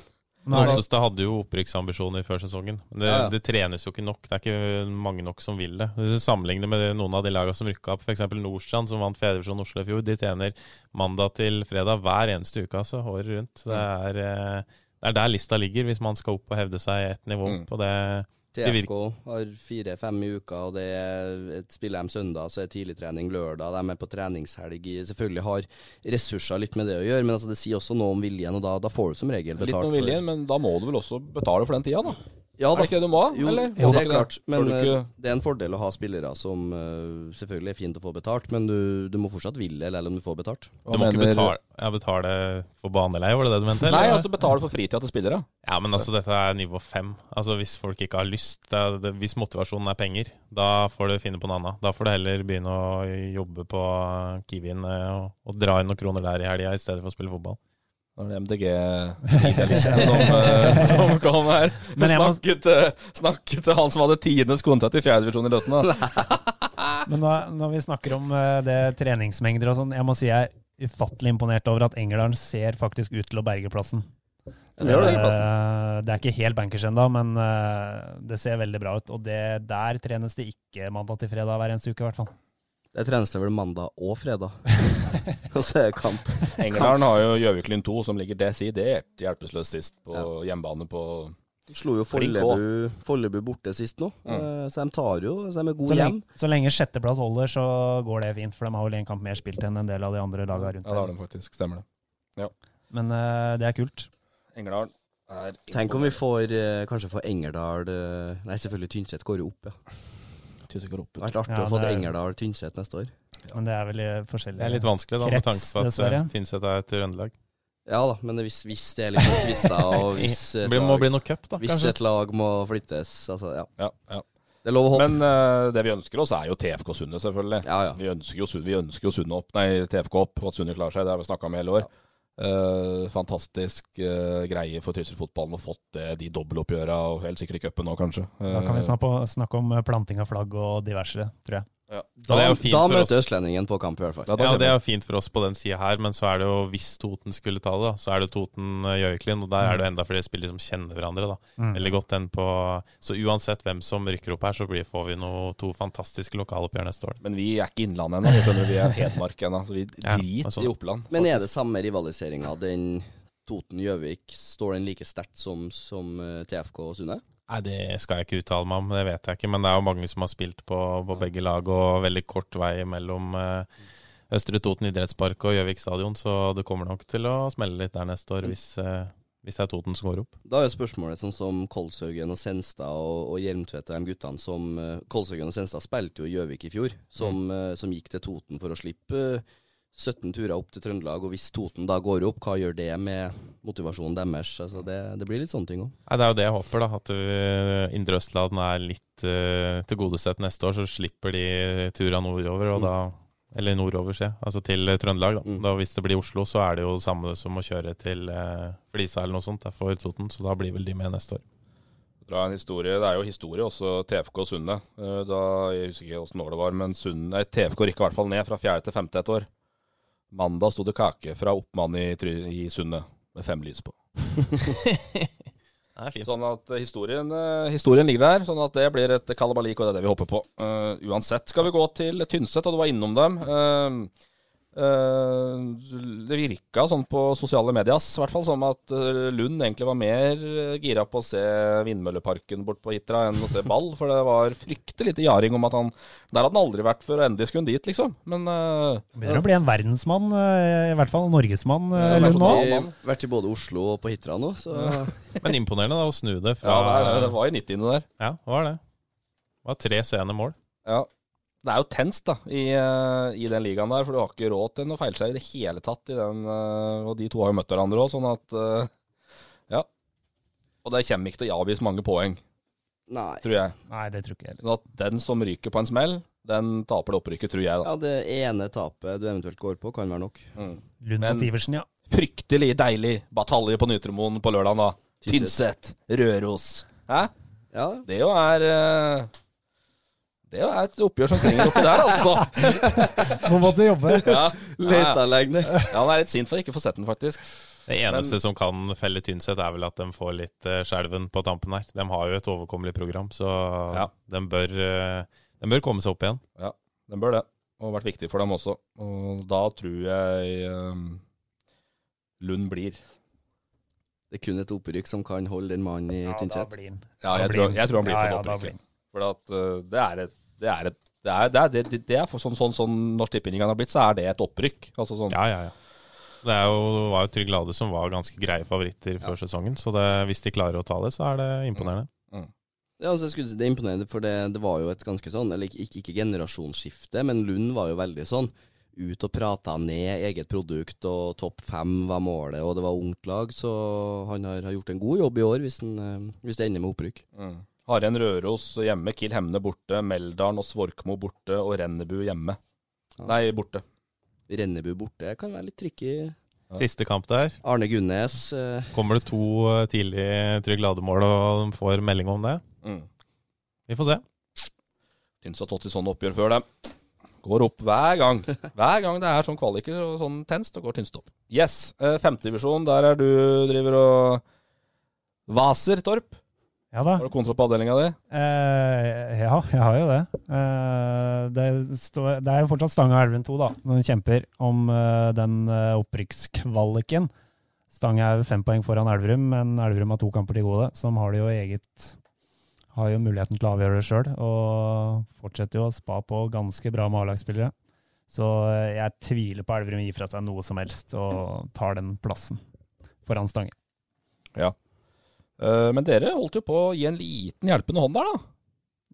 Nå er det,
Ottestad hadde jo opprykksambisjoner før sesongen. Men Det,
Ja, ja.
det trenes jo ikke nok. Det er ikke mange nok som vil det. Hvis du sammenligner med noen av de lagene som rykka opp, f.eks. Nordstrand, som vant fjerdedivisjon Oslo i fjor, de trener mandag til fredag hver eneste uke, altså, året rundt. Så Det
Mm.
er, eh, det er der lista ligger, hvis man skal opp og hevde seg ett nivå
Mm.
opp. Og det,
TFK har fire-fem i uka, og det er et spiller de søndag, så er tidligtrening lørdag. De er på treningshelg. i- Selvfølgelig har ressurser litt med det å gjøre, men altså, det sier også noe om viljen, og da, da får du som regel
Litt
betalt
med viljen, men da må du vel også betale for den tida, da?
Ja
Er
da.
det ikke det du må?
Jo,
eller?
jo,
Må du
det er
ikke
klart. Men
Får du
eh,
ikke
det er en fordel å ha spillere som eh, selvfølgelig er fint å få betalt, men du, du må fortsatt ville, eller om du får betalt.
du
Hva
må ikke
mener-
betale, ja, betale for baneleie, var det det du mente? eller?
Nei, altså betale for fritida til spillere.
Ja, men altså, dette er nivå fem. Altså, hvis folk ikke har lyst, det er, det, hvis motivasjonen er penger, da får du finne på noe annet. Da får du heller begynne å jobbe på Kiwien eh, og, og dra inn noen kroner der i helga, i stedet for å spille fotball.
Det var det MDG-idealisten som,
(laughs)
eh, som kom her.
Men jeg må-
snakket, eh, snakket til han som hadde tidenes kontrakt i fjerdedivisjon i Løten. da.
men da, når vi snakker om eh, det treningsmengder og sånn, jeg må si jeg er ufattelig imponert over at Engerdalen ser faktisk ut til å berge plassen.
Det gjør det, plassen.
Eh, det er ikke helt bankers ennå, men eh, det ser veldig bra ut. Og det, der trenes det ikke mandag til fredag hver eneste uke, i hvert fall.
Det trenes det vel mandag og fredag. (laughs) og så er det kamp.
Engerdalen har jo Gjøviklyn 2, som ligger desidert hjelpeløs sist på hjemmebane på
Slo jo
Flink Mm.
Follebu, Follebu borte sist nå, eh, så de tar jo Så de er
Så
gode hjem.
lenge, så lenge sjetteplass holder, så går det fint. For de har vel en kamp mer spilt enn en del av de andre lagene rundt.
Ja, det har
der.
de faktisk. Stemmer det.
Men eh, det er kult.
Engerdalen er
Tenk om vi får eh, kanskje får Engerdal eh, Nei, selvfølgelig Tynset går jo opp, ja.
Tysker opp.
Det hadde vært artig
Ja,
å få
det er-
Engerdal-Tynset neste år.
Men det er vel eh, forskjellig.
Det er litt vanskelig, da, med
Krets,
tanke på at eh,
dessverre.
Tynset er et Trøndelag.
Ja da, men hvis, hvis det er litt
(laughs)
tvister, og hvis
Det
et
blir- må
lag,
bli noe cup, da,
hvis
kanskje.
et lag må flyttes, altså ja.
Ja, ja.
Det er lov å håpe.
Men eh, det vi ønsker oss, er jo TFK Sundet, selvfølgelig.
Ja, ja.
Vi ønsker jo, Sunne- vi ønsker jo Sunne opp, nei, TFK opp, og at Sunne klarer seg. Det har vi snakka om i hele år. Eh, fantastisk eh, greie for Trysil-fotballen å fått det, de dobbeltoppgjøra, og helt sikkert i cupen nå, kanskje.
Da kan
Eh,
vi snakke, snakke om eh, planting av flagg og diverse, tror jeg.
Og
Da,
det er jo fint
da
for oss.
møter Østlendingen på kamp, i hvert fall.
ja, da
Ja,
skjer
det er jo fint for oss på den sida her, men så er det jo hvis Toten skulle ta det, da, så er det jo Toten eh, Gjøviklyn, og der er det jo enda flere spillere som kjenner hverandre, da.
Mm.
Veldig godt den på Så uansett hvem som rykker opp her, så blir, får vi noe, to fantastiske lokaloppgjør neste år.
Men vi er ikke Innlandet ennå, vi skjønner du, vi er Hedmark ennå. Så vi
Ja,
driter
altså.
i Oppland.
Men er det samme rivaliseringa, den Toten-Gjøvik, står den like sterkt som, som eh, TFK og Sunne?
Nei, det skal jeg ikke uttale meg om, det vet jeg ikke. Men det er jo mange som har spilt på, på begge lag, og veldig kort vei mellom eh, Østre Toten idrettspark og Gjøvik stadion, så det kommer nok til å smelle litt der neste år hvis, eh, hvis det er Toten som går opp.
Da er jo spørsmålet sånn som Kolshaugen og Senstad og, og Hjelmtvedt og de guttene som eh, Kolshaugen og Senstad spilte jo i Gjøvik i fjor,
Mm.
som, eh, som gikk til Toten for å slippe eh, 17 turer opp til Trøndelag. Og hvis Toten da går opp, hva gjør det med motivasjonen deres? Altså det, det blir litt sånne ting òg.
Nei, Det er jo det jeg håper, da. At eh, Indre Østland er litt eh, tilgodesett neste år. Så slipper de tura
Mm.
nordover, og da Eller nordover, se. Altså til eh, Trøndelag, da.
Mm.
da. Hvis det blir Oslo, så er det jo det samme som å kjøre til eh, Flisa eller noe sånt. Det er for Toten, så da blir vel de med neste år.
Dra en historie, Det er jo historie også TFK og Sunne. Eh, Da, jeg husker ikke åssen år det var, men Sunne, nei, TFK rykka i hvert fall ned fra fjerde til femte et år. Mandag sto det kake fra oppmannen i, Try- i Sunne med fem lys på. Sånn at eh, historien, eh, historien ligger der, sånn at det blir et kalabalik, og det er det vi håper på. Eh, uansett skal vi gå til Tynset, og du var innom dem. Eh, Eh, det virka sånn på sosiale medias, i hvert fall, som at eh, Lund egentlig var mer eh, gira på å se vindmølleparken bort på Hitra enn å se ball, for det var fryktelig lite jaring om at han Der hadde han aldri vært før, og endelig skulle han dit, liksom. Men eh,
Begynner å bli en verdensmann, eh, i hvert fall norgesmann, eh,
Ja, sånn
Lund nå.
verdensmann.
Jeg har vært i både Oslo og på Hitra nå, så
Men imponerende da, å snu det
(laughs)
fra
ja, det, er, det var i 90-ene der.
Ja, det var det. Det var tre seende mål.
Ja. Det er jo tenst da, i, eh, i den ligaen der, for du har ikke råd til noe feilskjær i det hele tatt. I den, eh, og de to har jo møtt hverandre òg, sånn at eh, Ja. Og det kommer ikke til å avgis mange poeng,
Nei.
tror jeg.
Nei, det tror ikke jeg heller.
Sånn at den som ryker på en smell, den taper det opprykket, tror jeg, da.
Ja, det ene tapet du eventuelt går på, kan være nok.
Mm.
Lund
Men-
mot Iversen, ja.
Fryktelig deilig batalje på Nytremoen på lørdag, da.
Tynset.
Tynset, Røros. Hæ?
Ja,
Det jo er eh, Det jo er et oppgjør som trenger oppi der, altså.
(laughs) Nå måtte jobbe.
(laughs) Ja, ja, ja.
Leteanlegg, det.
ja han er litt sint for ikke å få sett den, faktisk.
Det eneste som kan felle Tynset, er vel at de får litt eh, skjelven på tampen her. De har jo et overkommelig program, så
Ja.
de, bør, eh, de bør komme seg opp igjen.
Den bør det. Og vært viktig for dem også. Og da tror jeg ehm, Lund blir.
Det er kun et opprykk som kan holde den mannen i
Ja, da
Tynset.
blir han.
Ja,
Da
jeg
blir
tror,
den.
jeg tror han blir
Ja,
på
ja,
topp.
da
ikke?
blir den.
For at, eh, det er et Det er et det er, det er, det, det- det er for, sånn, sånn, sånn Norsk Tippingligaen har blitt, så er det et opprykk. Altså sånn,
Ja, ja, ja. Det er jo, det var jo Trygg Lade som var ganske greie favoritter før sesongen, så det, hvis de klarer å ta det, så er det imponerende.
Ja, altså, jeg skulle, si, det er imponerende, for det, det var jo et ganske sånn, eller ikke, ikke- ikke generasjonsskifte, men Lund var jo veldig sånn ut og prata ned eget produkt, og topp fem var målet, og det var ungt lag, så han har, har gjort en god jobb i år, hvis, han, eh, hvis det ender med opprykk.
mm. Haren Røros hjemme, Kiel Hemne borte, Meldalen og Svorkmo borte og Rennebu hjemme.
Ja.
Nei, borte.
Rennebu borte kan være litt tricky.
Ja.
Siste kamp der.
Arne Gunnes eh,
Kommer det to eh, tidlig Trygg Lade-mål, og de får melding om det?
Mm.
Vi får se.
Syns har stått i sånne oppgjør før, det. Går opp hver gang. Hver gang det er sånn kvaliker og sånn tenst, og går Tynset opp. Yes. eh, Femtedivisjon, der er du driver og vaser, Torp.
Ja da.
Har du kontroll på avdelinga di?
Eh, ja, jeg har jo det. Eh, det, står, det er jo fortsatt Stanga og Elven 2 da, når de kjemper om eh, den eh, opprykkskvaliken. Stanga er fem poeng foran Elverum, men Elverum har to kamper til gode, som har det jo eget Har jo muligheten til å avgjøre det sjøl, og fortsetter jo å spa på ganske bra med A-lagsspillere. Så eh, jeg tviler på Elverum gir fra seg noe som helst og tar den plassen foran Stange.
Eh, Men dere holdt jo på å gi en liten hjelpende hånd der, da.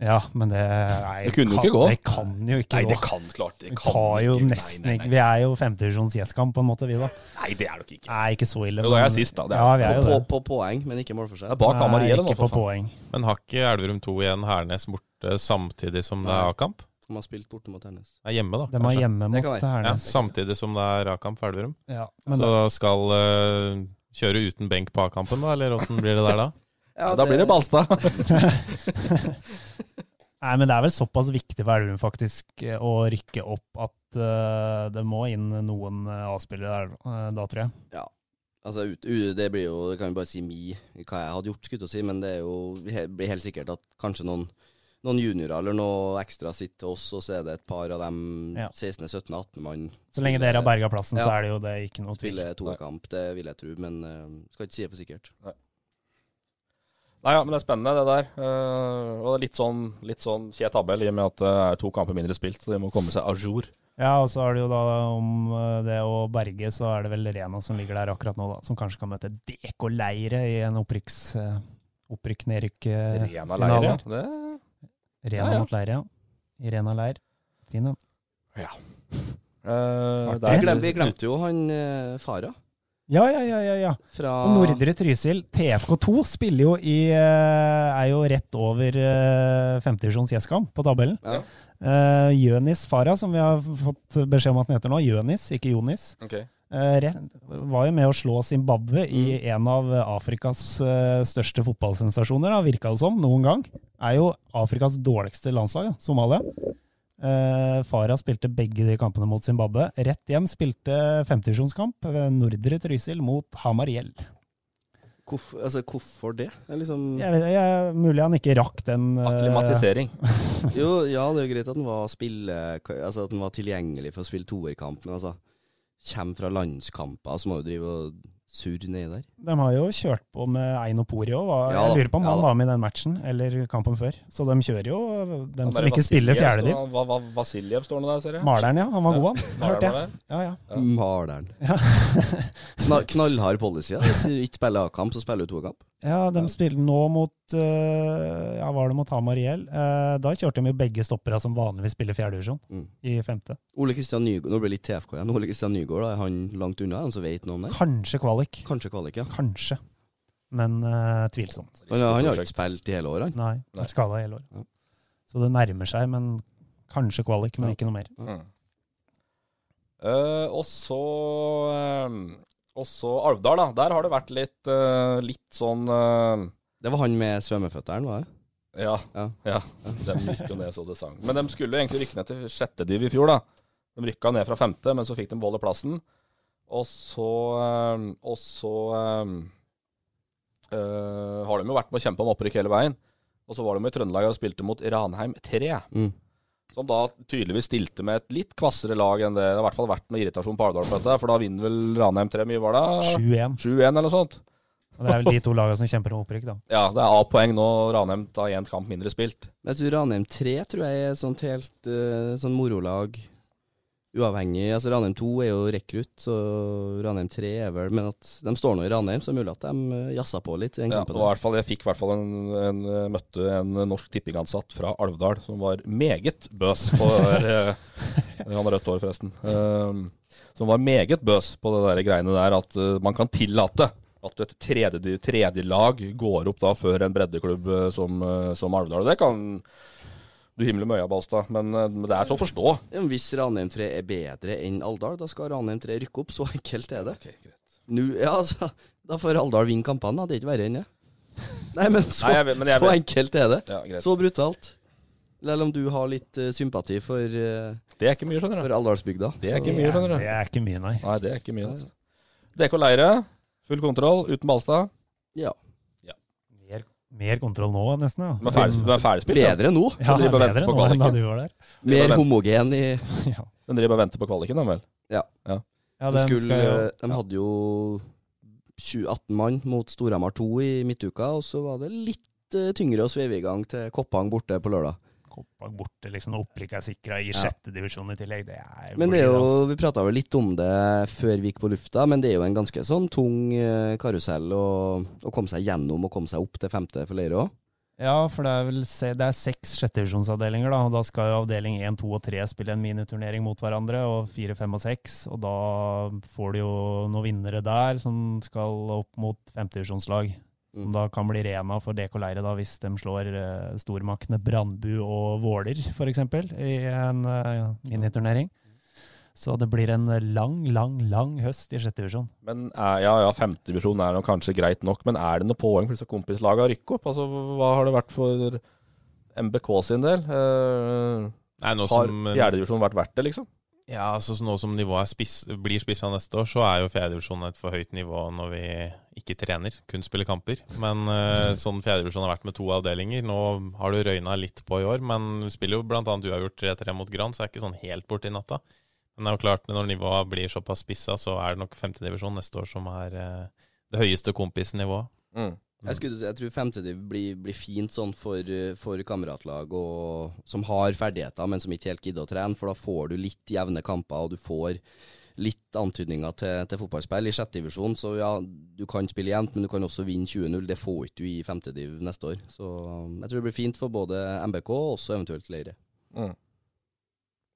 Ja, men det nei,
Det kunne jo
kan-
ikke gå.
Det kan jo ikke gå.
kan klart
Vi tar jo nesten ikke Vi er jo femtedivisjons gjestkamp, på en måte, vi, da.
Nei, det er det ikke.
Nei, ikke så ille.
Jo, da er jeg
men-
sist, da. Det er-
ja, vi er jo
på,
det.
på poeng, men ikke målforskjell.
Det er bak
Nei,
Amarie, det nå,
ikke
for
på
faen.
poeng.
Men har ikke Elverum 2 igjen Hernes borte samtidig som det er A-kamp?
De har spilt borte mot Hernes.
Det er hjemme, da.
De er
kanskje.
hjemme
Det
mot
kan være.
Ja,
Hernes.
samtidig som det er A-kamp for Elverum.
Ja, men
Så skal eh, kjøre uten benk på A-kampen, da? Eller åssen blir det der da?
Ja,
Da blir det (laughs) Balstad.
(laughs) Nei, men det er vel såpass viktig for Elverum faktisk eh, å rykke opp at eh, det må inn noen eh, A-spillere der eh, da, tror jeg.
Altså, ut, u, det blir jo, det kan jo bare si mi, hva jeg hadde gjort, skulle jeg til å si, men det er jo, he, blir helt sikkert at kanskje noen, noen juniorer eller noe ekstra sitter til oss, og så er det et par av dem
Ja.
16., 17., 18 mann.
Så lenge dere har berga plassen,
Ja.
så er det jo det ikke noe tvil.
Spiller toerkamp, det vil jeg tro, men eh, skal ikke si det for sikkert.
Nei, ja, men det er spennende, det der. Eh, og det er litt sånn, litt sånn kjed tabell, i og med at det er to kamper mindre spilt, så de må komme seg à jour.
Ja, og så er det jo da om eh, det å berge, så er det vel Rena som ligger der akkurat nå, da. Som kanskje kan møte DK Leire i en opprykks... eh, Opprykk-nedrykk-finale.
Rena leire. ja. Det
Rena
Ja, ja.
mot leir, ja. I Rena leir. Fin, den.
Eh,
Artig.
der-
Vi glemte, vi glemte jo han eh, Farah
Ja, ja, ja, ja, ja.
fra
Og Nordre Trysil, TFK2, spiller jo i eh, Er jo rett over eh, femtedivisjons Gjeskam på tabellen.
Ja.
Eh, Jønis Farah, som vi har fått beskjed om at han heter nå. Jønis, ikke Jonis.
Ok.
eh, rett- var jo med å slå Zimbabwe i en av Afrikas eh, største fotballsensasjoner, da, virka det som, noen gang. Er jo Afrikas dårligste landslag, ja, Somalia. Eh, Farah spilte begge de kampene mot Zimbabwe. Rett hjem spilte femtedivisjonskamp ved Nordre Trysil mot Hamariell.
Hvorf, altså, hvorfor det? Det er liksom, (laughs)
Jeg, vet- jeg, mulig han ikke rakk den eh,
Akklimatisering.
jo, ja, det er jo greit at han var, spille, altså, at han var tilgjengelig for å spille toerkamp, men altså, kommer fra landskamper, så må du drive og surre nedi der.
De har jo kjørt på med Eino Pori òg.
Ja da,
Jeg lurer på om
ja
han
da.
var med i den matchen, eller kampen før. Så de kjører jo eh,
Han
dem som
der
ikke spiller
Vasiljev
fjerdediv.
står- hva- hva- Vasiljev står nå der, ser jeg.
Maleren, ja. Han var god, han.
Maleren
Hørte
var
jeg.
det.
Ja, ja.
Ja.
Maleren. (laughs)
Ja.
Kna- Knallhard policy. da. Hvis du ikke spiller A-kamp, så spiller du to-kamp.
ja, de spilte nå mot øh, Ja, var det mot Hamar IL? Eh, da kjørte de jo begge stoppere som vanligvis spiller fjerdedivisjon,
Mm.
i femte.
Ole Kristian Nygaard, Nå blir det litt TFK igjen. Ole Kristian Nygaard, da er han langt unna, er han som vet noe om det?
Kanskje kvalik.
Kanskje kvalik, ja.
Kanskje. Men øh, tvilsomt.
Han, han har jo ikke spilt i hele året, han.
Nei.
Nei.
Vært skada hele året.
Ja.
Så det nærmer seg, men kanskje kvalik, men ikke noe mer.
Mm. Eh, og så eh, Og så Alvdal, da. Der har det vært litt, eh, litt sånn eh,
Det var han med svømmeføtteren, var det?
Ja. ja.
Ja.
Den gikk jo ned så det sang. Men de skulle jo egentlig rykke ned til sjette div i fjor, da. De rykka ned fra femte, men så fikk de beholde plassen. Og så eh, Og så eh, eh, har de jo vært med å kjempe om opprykk hele veien. Og så var de i Trøndelag og spilte mot Ranheim 3,
Mm.
som da tydeligvis stilte med et litt kvassere lag enn det. Det har i hvert fall vært med irritasjon på Alvdal på dette, for da vinner vel Ranheim 3 mye, var det?
7-1.
7-1 eller noe sånt.
Og Det er vel de to lagene som kjemper om opprykk, da.
Ja, det er A-poeng nå. Ranheim tar én kamp mindre spilt.
Men jeg tror Ranheim 3 tror jeg er sånt helt eh, sånn morolag. Uavhengig. altså Ranheim 2 er jo rekrutt, så Ranheim 3 er vel Men at de står nå i Ranheim, så er det mulig at de eh, jazza på litt i den
Ja,
kampen.
og i hvert fall, jeg fikk i hvert fall en, en, eh, møtte en norsk tippingansatt fra Alvdal som var meget bøs på det der eh, Han har rødt hår, forresten. ehm, som var meget bøs på det der greiene der at eh, man kan tillate at et tredje, tredje lag går opp da før en breddeklubb eh, som, eh, som Alvdal. Og det kan du himle med øya, Balstad, men eh, men det er til å forstå.
Ja, men Hvis Ranheim 3 er bedre enn Alvdal, da skal Ranheim 3 rykke opp. Så enkelt er det. Null, ja, altså, da får Alvdal vinne kampene, da. Det er ikke verre enn det. Nei, men så,
Nei, jeg vet- men jeg
så
vet-
enkelt er det.
Ja, greit.
Så brutalt. Selv om du har litt eh, sympati for, eh,
Det er ikke mye, skjønner du.
for Alvdalsbygda.
Det er
så-
ikke mye, skjønner du.
Det er ikke mye, nei.
Nei, det er ikke mye. altså. DK Leire, full kontroll uten Balstad.
Ja.
Mer, mer kontroll nå, nesten. ja.
De er ferdig- de er ferdigspilt. ja.
Bedre nå.
Ja,
De driver og venter
bedre
på
nå enn da
kvaliken.
du var der. (laughs)
Mer
vent.
homogen i
Ja,
Den driver og venter på kvaliken, da vel?
ja
de,
den
skulle,
skal jo
de hadde jo 2018 mann mot Storhamar 2 i midtuka, og så var det litt eh, tyngre å sveive i gang til Koppang borte på lørdag.
Koppang borte, liksom, når opprykk er sikra i sjette divisjon i tillegg. Det er
Men det er jo,
blir,
Vi prata vel litt om det før vi gikk på lufta, men det er jo en ganske sånn tung eh, karusell å, å komme seg gjennom og komme seg opp til femte for Leire òg.
ass. Ja, for det er vel se, det er seks sjettevisjonsavdelinger, da. Og da skal jo avdeling én, to og tre spille en miniturnering mot hverandre, og fire, fem og seks. Og da får du jo noen vinnere der som skal opp mot femtedivisjonslag. Som
Mm.
da kan bli rena for DK Leire, da, hvis de slår eh, stormaktene Brandbu og Våler, f.eks., i en eh, miniturnering. Så det blir en lang, lang, lang høst i sjette divisjon.
Men er, ja, ja, femtedivisjon er nok kanskje greit nok, men er det noe poeng for disse kompislagene å rykke opp? Altså, Hva har det vært for MBK sin del? Eh,
Nei, nå
har
som,
fjerdedivisjon vært verdt det, liksom?
ja, altså, så nå som nivået er spiss, blir spissa neste år, så er jo fjerdedivisjon et for høyt nivå når vi ikke trener, kun spiller kamper. Men eh, sånn fjerdedivisjon har vært med to avdelinger. Nå har du røyna litt på i år, men vi spiller jo bl.a. uavgjort 3-3 mot Gran, så er ikke sånn helt borte i natta. Men det er jo klart, når nivået blir såpass spissa, så er det nok femtedivisjon neste år som er eh, det høyeste kompisnivået.
Jeg, skulle si- jeg tror femtediv blir, blir fint sånn for, eh, for kameratlag og, som har ferdigheter, men som ikke helt gidder å trene, for da får du litt jevne kamper, og du får litt antydninger til, til fotballspill. I sjette divisjon, så ja, du kan spille jevnt, men du kan også vinne 20-0. Det får ikke du i femtediv neste år. Så eh, jeg tror det blir fint for både MBK og også eventuelt
(laughs)
Leire.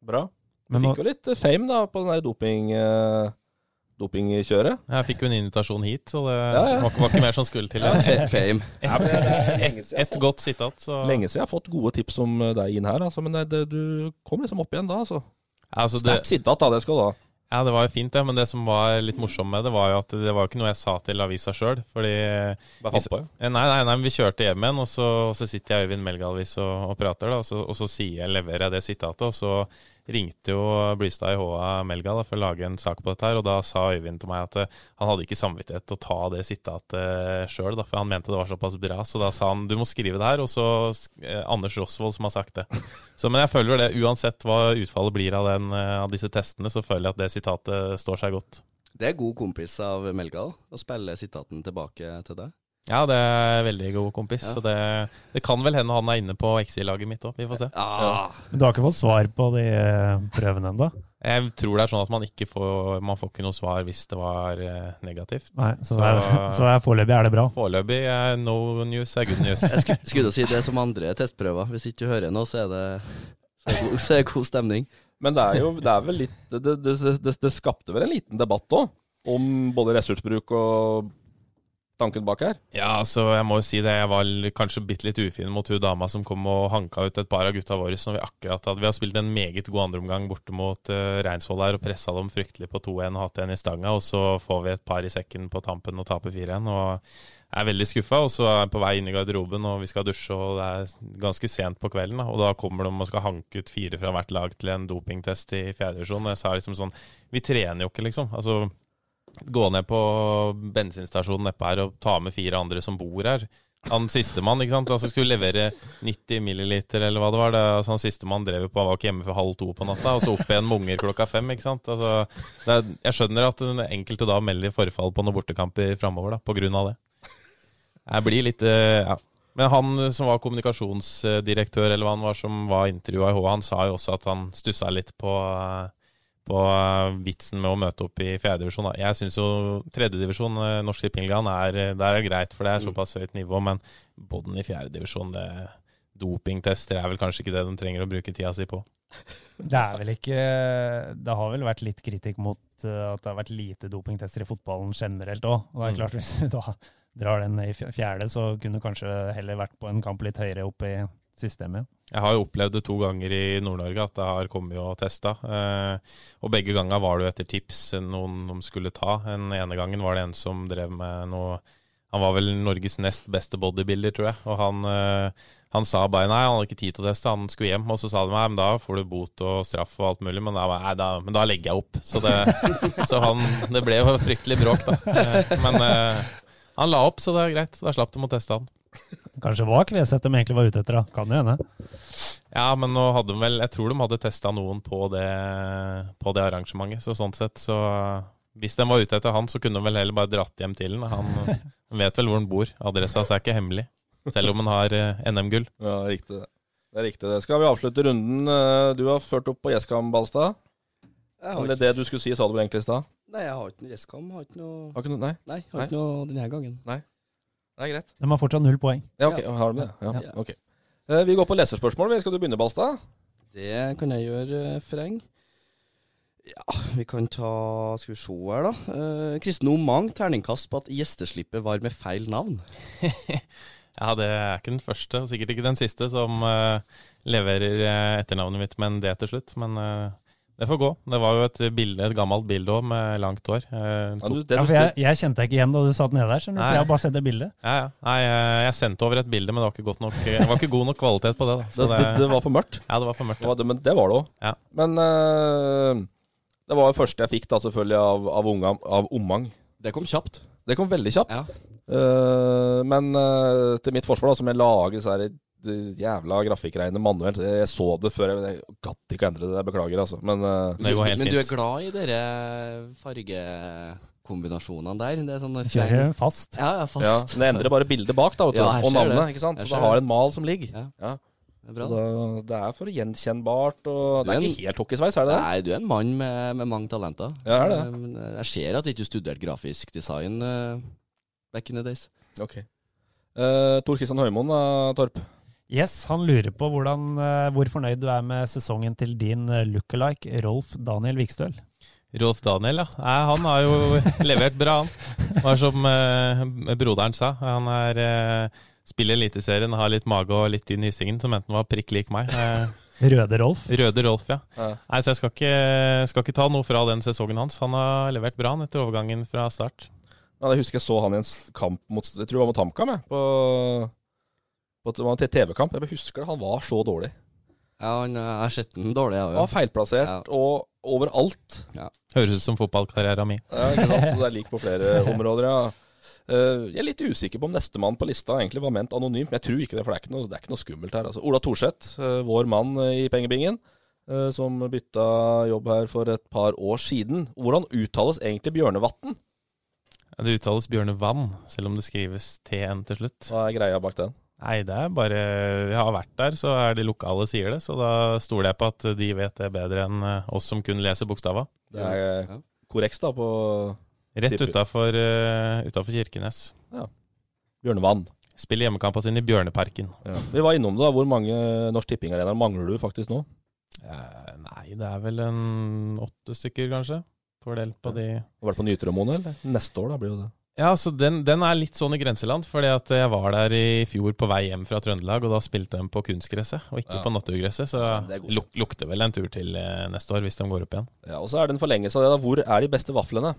Bra. Du
Men nå-
fikk jo litt eh, fame da på den der doping, eh, dopingkjøret.
Jeg fikk jo en invitasjon hit, så det
ja.
Var, ikke- var ikke mer som skulle til. det.
Fe- Fame.
Et, et godt sitat, så
altså. Lenge siden jeg har fått gode tips om eh, deg inn her, altså, men det, det, du kom liksom opp igjen da. altså.
altså, det,
Sterk sitat, da. Det skal du ha.
Ja, det var jo fint, det. Men det som var litt morsomt med det, var jo at det var jo ikke noe jeg sa til avisa sjøl. Fordi
Bare
hvis-
fant på, ja.
Eh, Nei, nei, nei, men vi kjørte hjem igjen, og så, og så sitter jeg og Øyvind Melgalvis og, og prater, da, og så, og så sier jeg, leverer jeg det sitatet, og så ringte jo Blystad i HA Melga da, for å lage en sak på dette, her, og da sa Øyvind til meg at eh, han hadde ikke samvittighet til å ta det sitatet sjøl, for han mente det var såpass bra. Så da sa han du må skrive det her, og så eh, Anders Rosvold som har sagt det. Så, men jeg føler det, uansett hva utfallet blir av, den, eh, av disse testene, så føler jeg at det sitatet står seg godt.
Det er god kompis av Melga da, å spille sitaten tilbake til deg.
Ja, det er en veldig god kompis.
Ja.
Så det, det kan vel hende han er inne på XI-laget mitt òg. Vi får se.
Ah,
Men du har ikke fått svar på de eh, prøvene ennå?
Jeg tror det er sånn at man ikke får Man får ikke noe svar hvis det var eh, negativt.
Nei, så, det er- (laughs) så det er foreløpig er det bra.
foreløpig er no news er good news.
Jeg sku- skulle jo si det som andre testprøver. Hvis ikke du hører noe, så er det, så er det, god, så er det god stemning.
Men det er jo det er vel litt Det, det, det, det, det skapte vel en liten debatt òg, om både ressursbruk og tanken bak her.
Ja, altså, jeg må jo si det. Jeg var l- kanskje bitte litt ufin mot hun dama som kom og hanka ut et par av gutta våre som vi akkurat hadde Vi har spilt en meget god andreomgang borte mot eh, Reinsvoll her og pressa dem fryktelig på 2-1 og hatt en i stanga, og så får vi et par i sekken på tampen og taper 4-1. Og jeg er veldig skuffa, og så er jeg på vei inn i garderoben, og vi skal dusje, og det er s- ganske sent på kvelden, da. og da kommer de og skal hanke ut fire fra hvert lag til en dopingtest i fjerde divisjon. Og jeg sa liksom sånn Vi trener jo ikke, liksom. Altså gå ned på bensinstasjonen nedpå her og ta med fire andre som bor her. Han sistemann ikke sant? Altså skulle levere 90 milliliter eller hva det var. Det, altså han sistemann drev jo på, han var ikke hjemme før halv to på natta, og så opp igjen med unger klokka fem. ikke sant? Altså, det er, jeg skjønner at den enkelte da melder forfall på noen bortekamper framover på grunn av det. Jeg blir litt eh, ja. Men han som var kommunikasjonsdirektør, eller hva han var som var intervjua i H, han sa jo også at han stussa litt på eh, på eh, vitsen med å møte opp i fjerdedivisjon. Jeg syns jo tredjedivisjon, eh, norsk tippingligaen, er, eh, der er greit, for det er såpass høyt nivå. Men båten i fjerdedivisjon, dopingtester er vel kanskje ikke det de trenger å bruke tida si på.
Det er vel ikke Det har vel vært litt kritikk mot eh, at det har vært lite dopingtester i fotballen generelt òg. Og det er
Mm.
klart, hvis du da drar den i fj- fjerde, så kunne du kanskje heller vært på en kamp litt høyere opp i systemet.
Jeg har jo opplevd det to ganger i Nord-Norge, at det har kommet og testa. Eh, og begge ganger var det jo etter tips noen de skulle ta. Den ene gangen var det en som drev med noe Han var vel Norges nest beste bodybuilder, tror jeg. Og han, eh, han sa bare nei, han hadde ikke tid til å teste, han skulle hjem. Og så sa de nei, men da får du bot og straff og alt mulig. Men da, var jeg, nei, da, men da legger jeg opp. Så, det, så han, det ble jo fryktelig bråk, da. Eh, men eh, han la opp, så det er greit. Da slapp de å teste han.
(laughs) Kanskje det var Kveseth de egentlig var ute etter, da. Kan jo hende.
Ja, men nå hadde de vel Jeg tror de hadde testa noen på det, på det arrangementet, så sånn sett så Hvis de var ute etter han, så kunne de vel heller bare dratt hjem til han. Han vet vel hvor han bor. Adressa hans er ikke hemmelig. Selv om han har eh, NM-gull.
Ja, riktig det. Det er riktig det. Skal vi avslutte runden? Eh, Du har ført opp på Gjeskam, Balstad.
Jeg har
Eller
ikke,
det du skulle si, sa du vel egentlig i stad?
nei, jeg har ikke noe Rescam. Har ikke noe
Har ikke noe- Nei,
Nei, har ikke noe denne gangen.
det er greit.
De har fortsatt null poeng.
Ja, ok, Har du det? Ja,
Ja.
ok. Eh, Vi går på leserspørsmål. vi. Skal du begynne, Balstad?
Det kan jeg gjøre, eh, Freng. Ja, vi kan ta Skal vi se her, da. Eh, Kristen Omang, terningkast på at gjesteslippet var med feil navn.
Ja, det er ikke den første, og sikkert ikke den siste, som eh, leverer eh, etternavnet mitt med en D til slutt. Men eh, det får gå. Det var jo et, bilde, et gammelt bilde òg, med langt hår. Eh,
Ja, du, det,
Ja,
du,
for jeg, jeg kjente deg ikke igjen da du satt nede der, skjønner du.
Nei.
For jeg har bare sett det bildet.
Ja, ja. Nei, eh, jeg sendte over et bilde, men det var ikke, godt nok, det var ikke god nok kvalitet på det. da.
det,
Så
det, det var for mørkt.
Ja, det var for mørkt.
Det var, det- men det var det òg.
Ja.
Men eh, det var jo første jeg fikk da selvfølgelig av, av, unga, av Omang.
Det kom kjapt.
Det kom veldig kjapt.
Ja.
Eh, men eh, til mitt forsvar, da, som jeg lager disse her, de jævla grafikkreiene manuelt Jeg jeg så det før jeg, jeg gadd ikke å endre det. Jeg beklager, altså. Men eh,
Det går helt
Men du er
fint.
glad i dere fargekombinasjonene der? Det er sånn
Kjører fast.
Ja, ja,
ja,
fast.
men jeg endrer bare bildet bak da, vet du,
Ja,
og
jeg ser det.
navnet. ikke sant? Så
Jeg
det
ser
har
det.
en mal som ligger.
Ja.
Ja.
Det er bra.
Så det, det er for gjenkjennbart. Og
Du
det
er
er
en-
ikke helt hockeysveis, er det det?
Nei, du er en mann med, med mange talenter.
Ja, er det.
Eh, men Jeg ser at ikke du studerte grafisk design eh, back in the days.
Ok. Eh, Tor Kristian Høymoen, da, Torp.
Yes, han lurer på hvordan, eh, hvor fornøyd du er med sesongen til din eh, lookalike Rolf Daniel Vikstøl.
Rolf Daniel, ja. Nei, han har jo (laughs) levert bra, han. Det var som eh, broderen sa. Han er eh, spiller Eliteserien, har litt mage og litt tynn hyssingen, som enten var prikk lik meg. Eh,
Røde Rolf.
Røde Rolf, ja.
Ja.
Nei, Så jeg skal ikke, skal ikke ta noe fra den sesongen hans. Han har levert bra han etter overgangen fra start.
Ja, jeg husker jeg så han i en s- kamp mot Jeg tror det var mot HamKam, jeg. På, på, det var en TV-kamp. Jeg bare husker det. Han var så dårlig.
Ja, han, eh, jeg har sett den dårlig, jeg
Han var
òg.
feilplassert
Ja.
og overalt.
Høres ut som fotballkarrieren min.
Ja, ikke sant? Så det er lik på flere områder, ja. Eh, jeg er litt usikker på om nestemann på lista egentlig var ment anonymt, men jeg tror ikke det, for det er ikke noe, det er ikke noe skummelt her. Altså, Ola Thorseth, eh, vår mann eh, i pengebingen, eh, som bytta jobb her for et par år siden. Hvordan uttales egentlig Bjørnevatn?
Det uttales Bjørne Vann, selv om det skrives TN til slutt.
Hva er greia bak den?
Nei, det er bare Jeg har vært der, så er de lokale sier det. Så da stoler jeg på at de vet det bedre enn eh, oss som kun leser bokstava.
Det er eh,
Ja.
korreks da på
Rett
Tipper.
utafor Kirkenes.
Bjørnevann.
Spiller hjemmekampa sin i Bjørneparken.
Vi var innom det, da. Hvor mange Norsk Tipping-arenaer mangler du faktisk nå?
Eh, Nei, det er vel en åtte stykker, kanskje. Fordelt på de
Har du vært på Nytremoen, eller? Neste år, da blir jo det.
Ja, så den, den er litt sånn i grenseland, fordi at jeg var der i fjor på vei hjem fra Trøndelag, og da spilte de på kunstgresset, og ikke
Ja.
på naturgresset, så
Ja, det er god
luk, lukter vel en tur til eh, neste år, hvis de går opp igjen.
Ja, Og så er det en forlengelse av det. da. Hvor er de beste vaflene?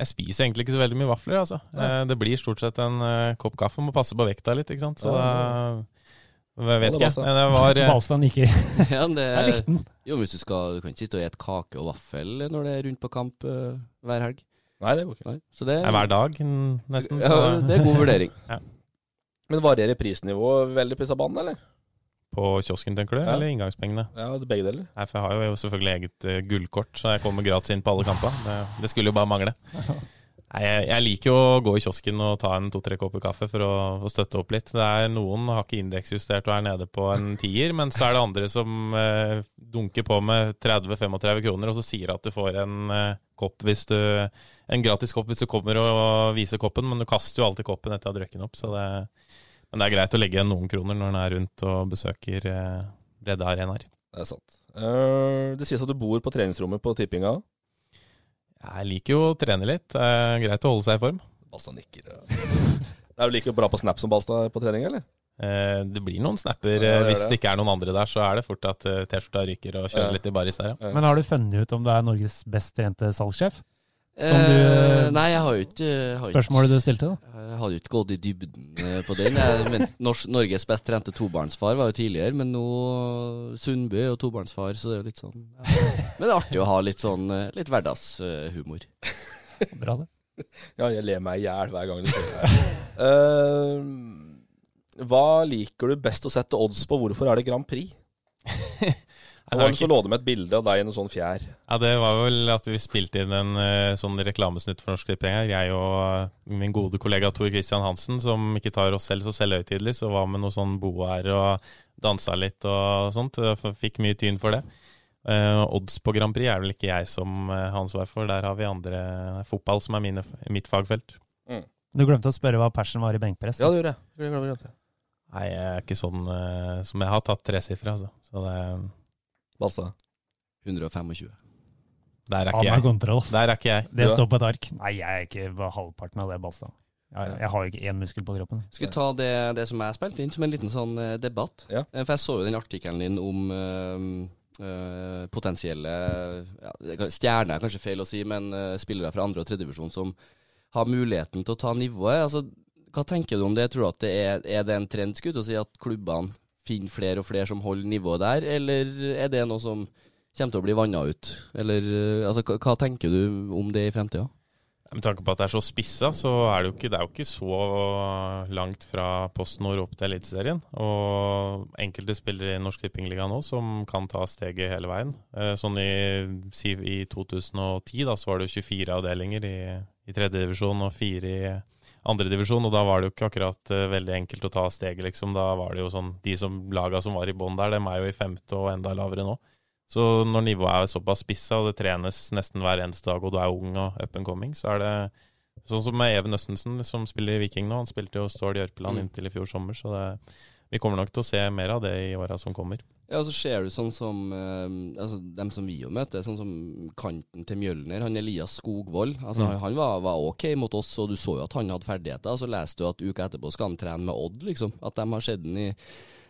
Jeg spiser egentlig ikke så veldig mye vafler, altså.
Nei.
Eh, Det blir stort sett en eh, kopp kaffe, må passe på vekta litt, ikke sant. Så
Ja,
da jeg vet
Holder
ikke.
masse.
Men jeg var eh,
Balstad nikker. (laughs)
(laughs) Ja, det,
Jeg likte den.
jo, men hvis du skal Du kan ikke sitte og spise kake og vaffel når det er rundt på kamp eh, hver helg.
Nei, det går ikke.
Nei, så det,
nei, hver dag, mm, nesten.
ja,
Så (laughs)
det er god vurdering.
Men varierer prisnivået veldig på Isabanden, eller?
på kiosken, tenker du?
Ja.
Eller inngangspengene?
Ja, det er begge deler.
Nei, for jeg har jo selvfølgelig eget eh, gullkort, så jeg kommer gratis inn på alle kamper. Det, det skulle jo bare mangle. Nei, jeg, jeg liker jo å gå i kiosken og ta en to-tre kopper kaffe for å, å støtte opp litt. Det er Noen har ikke indeksjustert og er nede på en tier, men så er det andre som eh, dunker på med 30-35 kroner, og så sier at du får en eh, kopp hvis du En gratis kopp hvis du kommer og viser koppen, men du kaster jo alltid koppen etter å ha drukket den opp, så det Men det er greit å legge igjen noen kroner når en er rundt og besøker eh, bredde arenaer.
Det er sant. Eh, det sies at du bor på treningsrommet på tippinga.
Jeg liker jo å trene litt. Det er greit å holde seg i form.
Balstad nikker. ja. (laughs) det er jo like bra på snap som Balstad på trening, eller?
Eh, Det blir noen snapper.
Ja,
eh,
det gjør
Hvis
det.
det ikke er noen andre der, så er det fort at eh, T-skjorta ryker og
Ja.
kjører litt i baris der, ja.
Men har du funnet ut om du er Norges best trente salgssjef? Som
Eh,
du-
nei, jeg har jo ikke har jo ikke-
Spørsmålet du stilte, da.
Jeg hadde jo ikke gått i dybden eh, på den. Jeg mente Nors Norges best trente tobarnsfar var jo tidligere, men nå Sundby er jo tobarnsfar, så det er jo litt sånn ja. Men det er artig å ha litt sånn eh, litt hverdagshumor.
Bra, det.
Ja, jeg ler meg i hjel hver gang du sier det. (laughs) Eh, hva liker du best å sette odds på? Hvorfor er det Grand (laughs) Prix?
Nei,
Og
det,
så
er ikke,
lå det med et bilde av deg i noe sånn fjær.
ja, det var vel at vi spilte inn en eh, sånn reklamesnutt for Norsk Tipping her. Jeg og eh, min gode kollega Tor Christian Hansen, som ikke tar oss selv så selvhøytidelig, så var med noe sånn boer og dansa litt og sånt. eh, f- Fikk mye tyn for det. Eh, odds på Grand Prix er vel ikke jeg som eh, har ansvar for. Der har vi andre eh, fotball som er mine, mitt fagfelt.
Du glemte å spørre hva persen var i benkpress.
Ja, det gjorde jeg. jeg. glemmer det.
Nei, jeg er ikke sånn eh, som jeg har tatt tresifra, altså. Så det,
Balstad.
125.
der er
Han
ikke
har
jeg.
kontroll.
Der er ikke jeg.
Det står på et ark. Nei, jeg er ikke på halvparten av det, Balstad. Jeg, jeg har jo ikke én muskel på kroppen.
Skal vi ta det, det som jeg spilte inn, som en liten sånn eh, debatt?
Ja.
Eh, For jeg så jo den artikkelen din om eh, eh, potensielle ja, det kan- Stjerner er kanskje feil å si, men eh, spillere fra andre- og tredjedivisjon som har muligheten til å ta nivået. Altså, hva tenker du om det? Tror du at det er, er det en trend skutt å si at klubbene finner flere og flere som holder nivået der, eller er det noe som kommer til å bli vanna ut? Eller eh, altså, hva, hva tenker du om det i fremtida?
Med tanke på at det er så spissa, så er det jo ikke, det er jo ikke så langt fra Post Nord opp til Eliteserien. Og enkelte spillere i Norsk Tippingliga nå som kan ta steget hele veien. Eh, Sånn i, si, i 2010 da, så var det jo 24 avdelinger i, i tredje divisjon og fire i andre divisjon, og da var det jo ikke akkurat eh, veldig enkelt å ta steget, liksom. Da var det jo sånn De som laga som var i bånn der, dem er jo i femte og enda lavere nå. Så når nivået er såpass spissa, og det trenes nesten hver eneste dag, og du er ung og up and coming, så er det sånn som med Even Østensen, som spiller i Viking nå. Han spilte jo Stord Jørpeland
Mm.
inntil i fjor sommer, så det, vi kommer nok til å se mer av det i åra som kommer.
Ja, og så ser du sånn som eh, altså, dem som vi jo møter, sånn som kanten til Mjølner, han Elias Skogvold. Altså,
Mm.
Han var, var ok mot oss, og du så jo at han hadde ferdigheter. Og så leste du at uka etterpå skal han trene med Odd, liksom. At de har sett den i,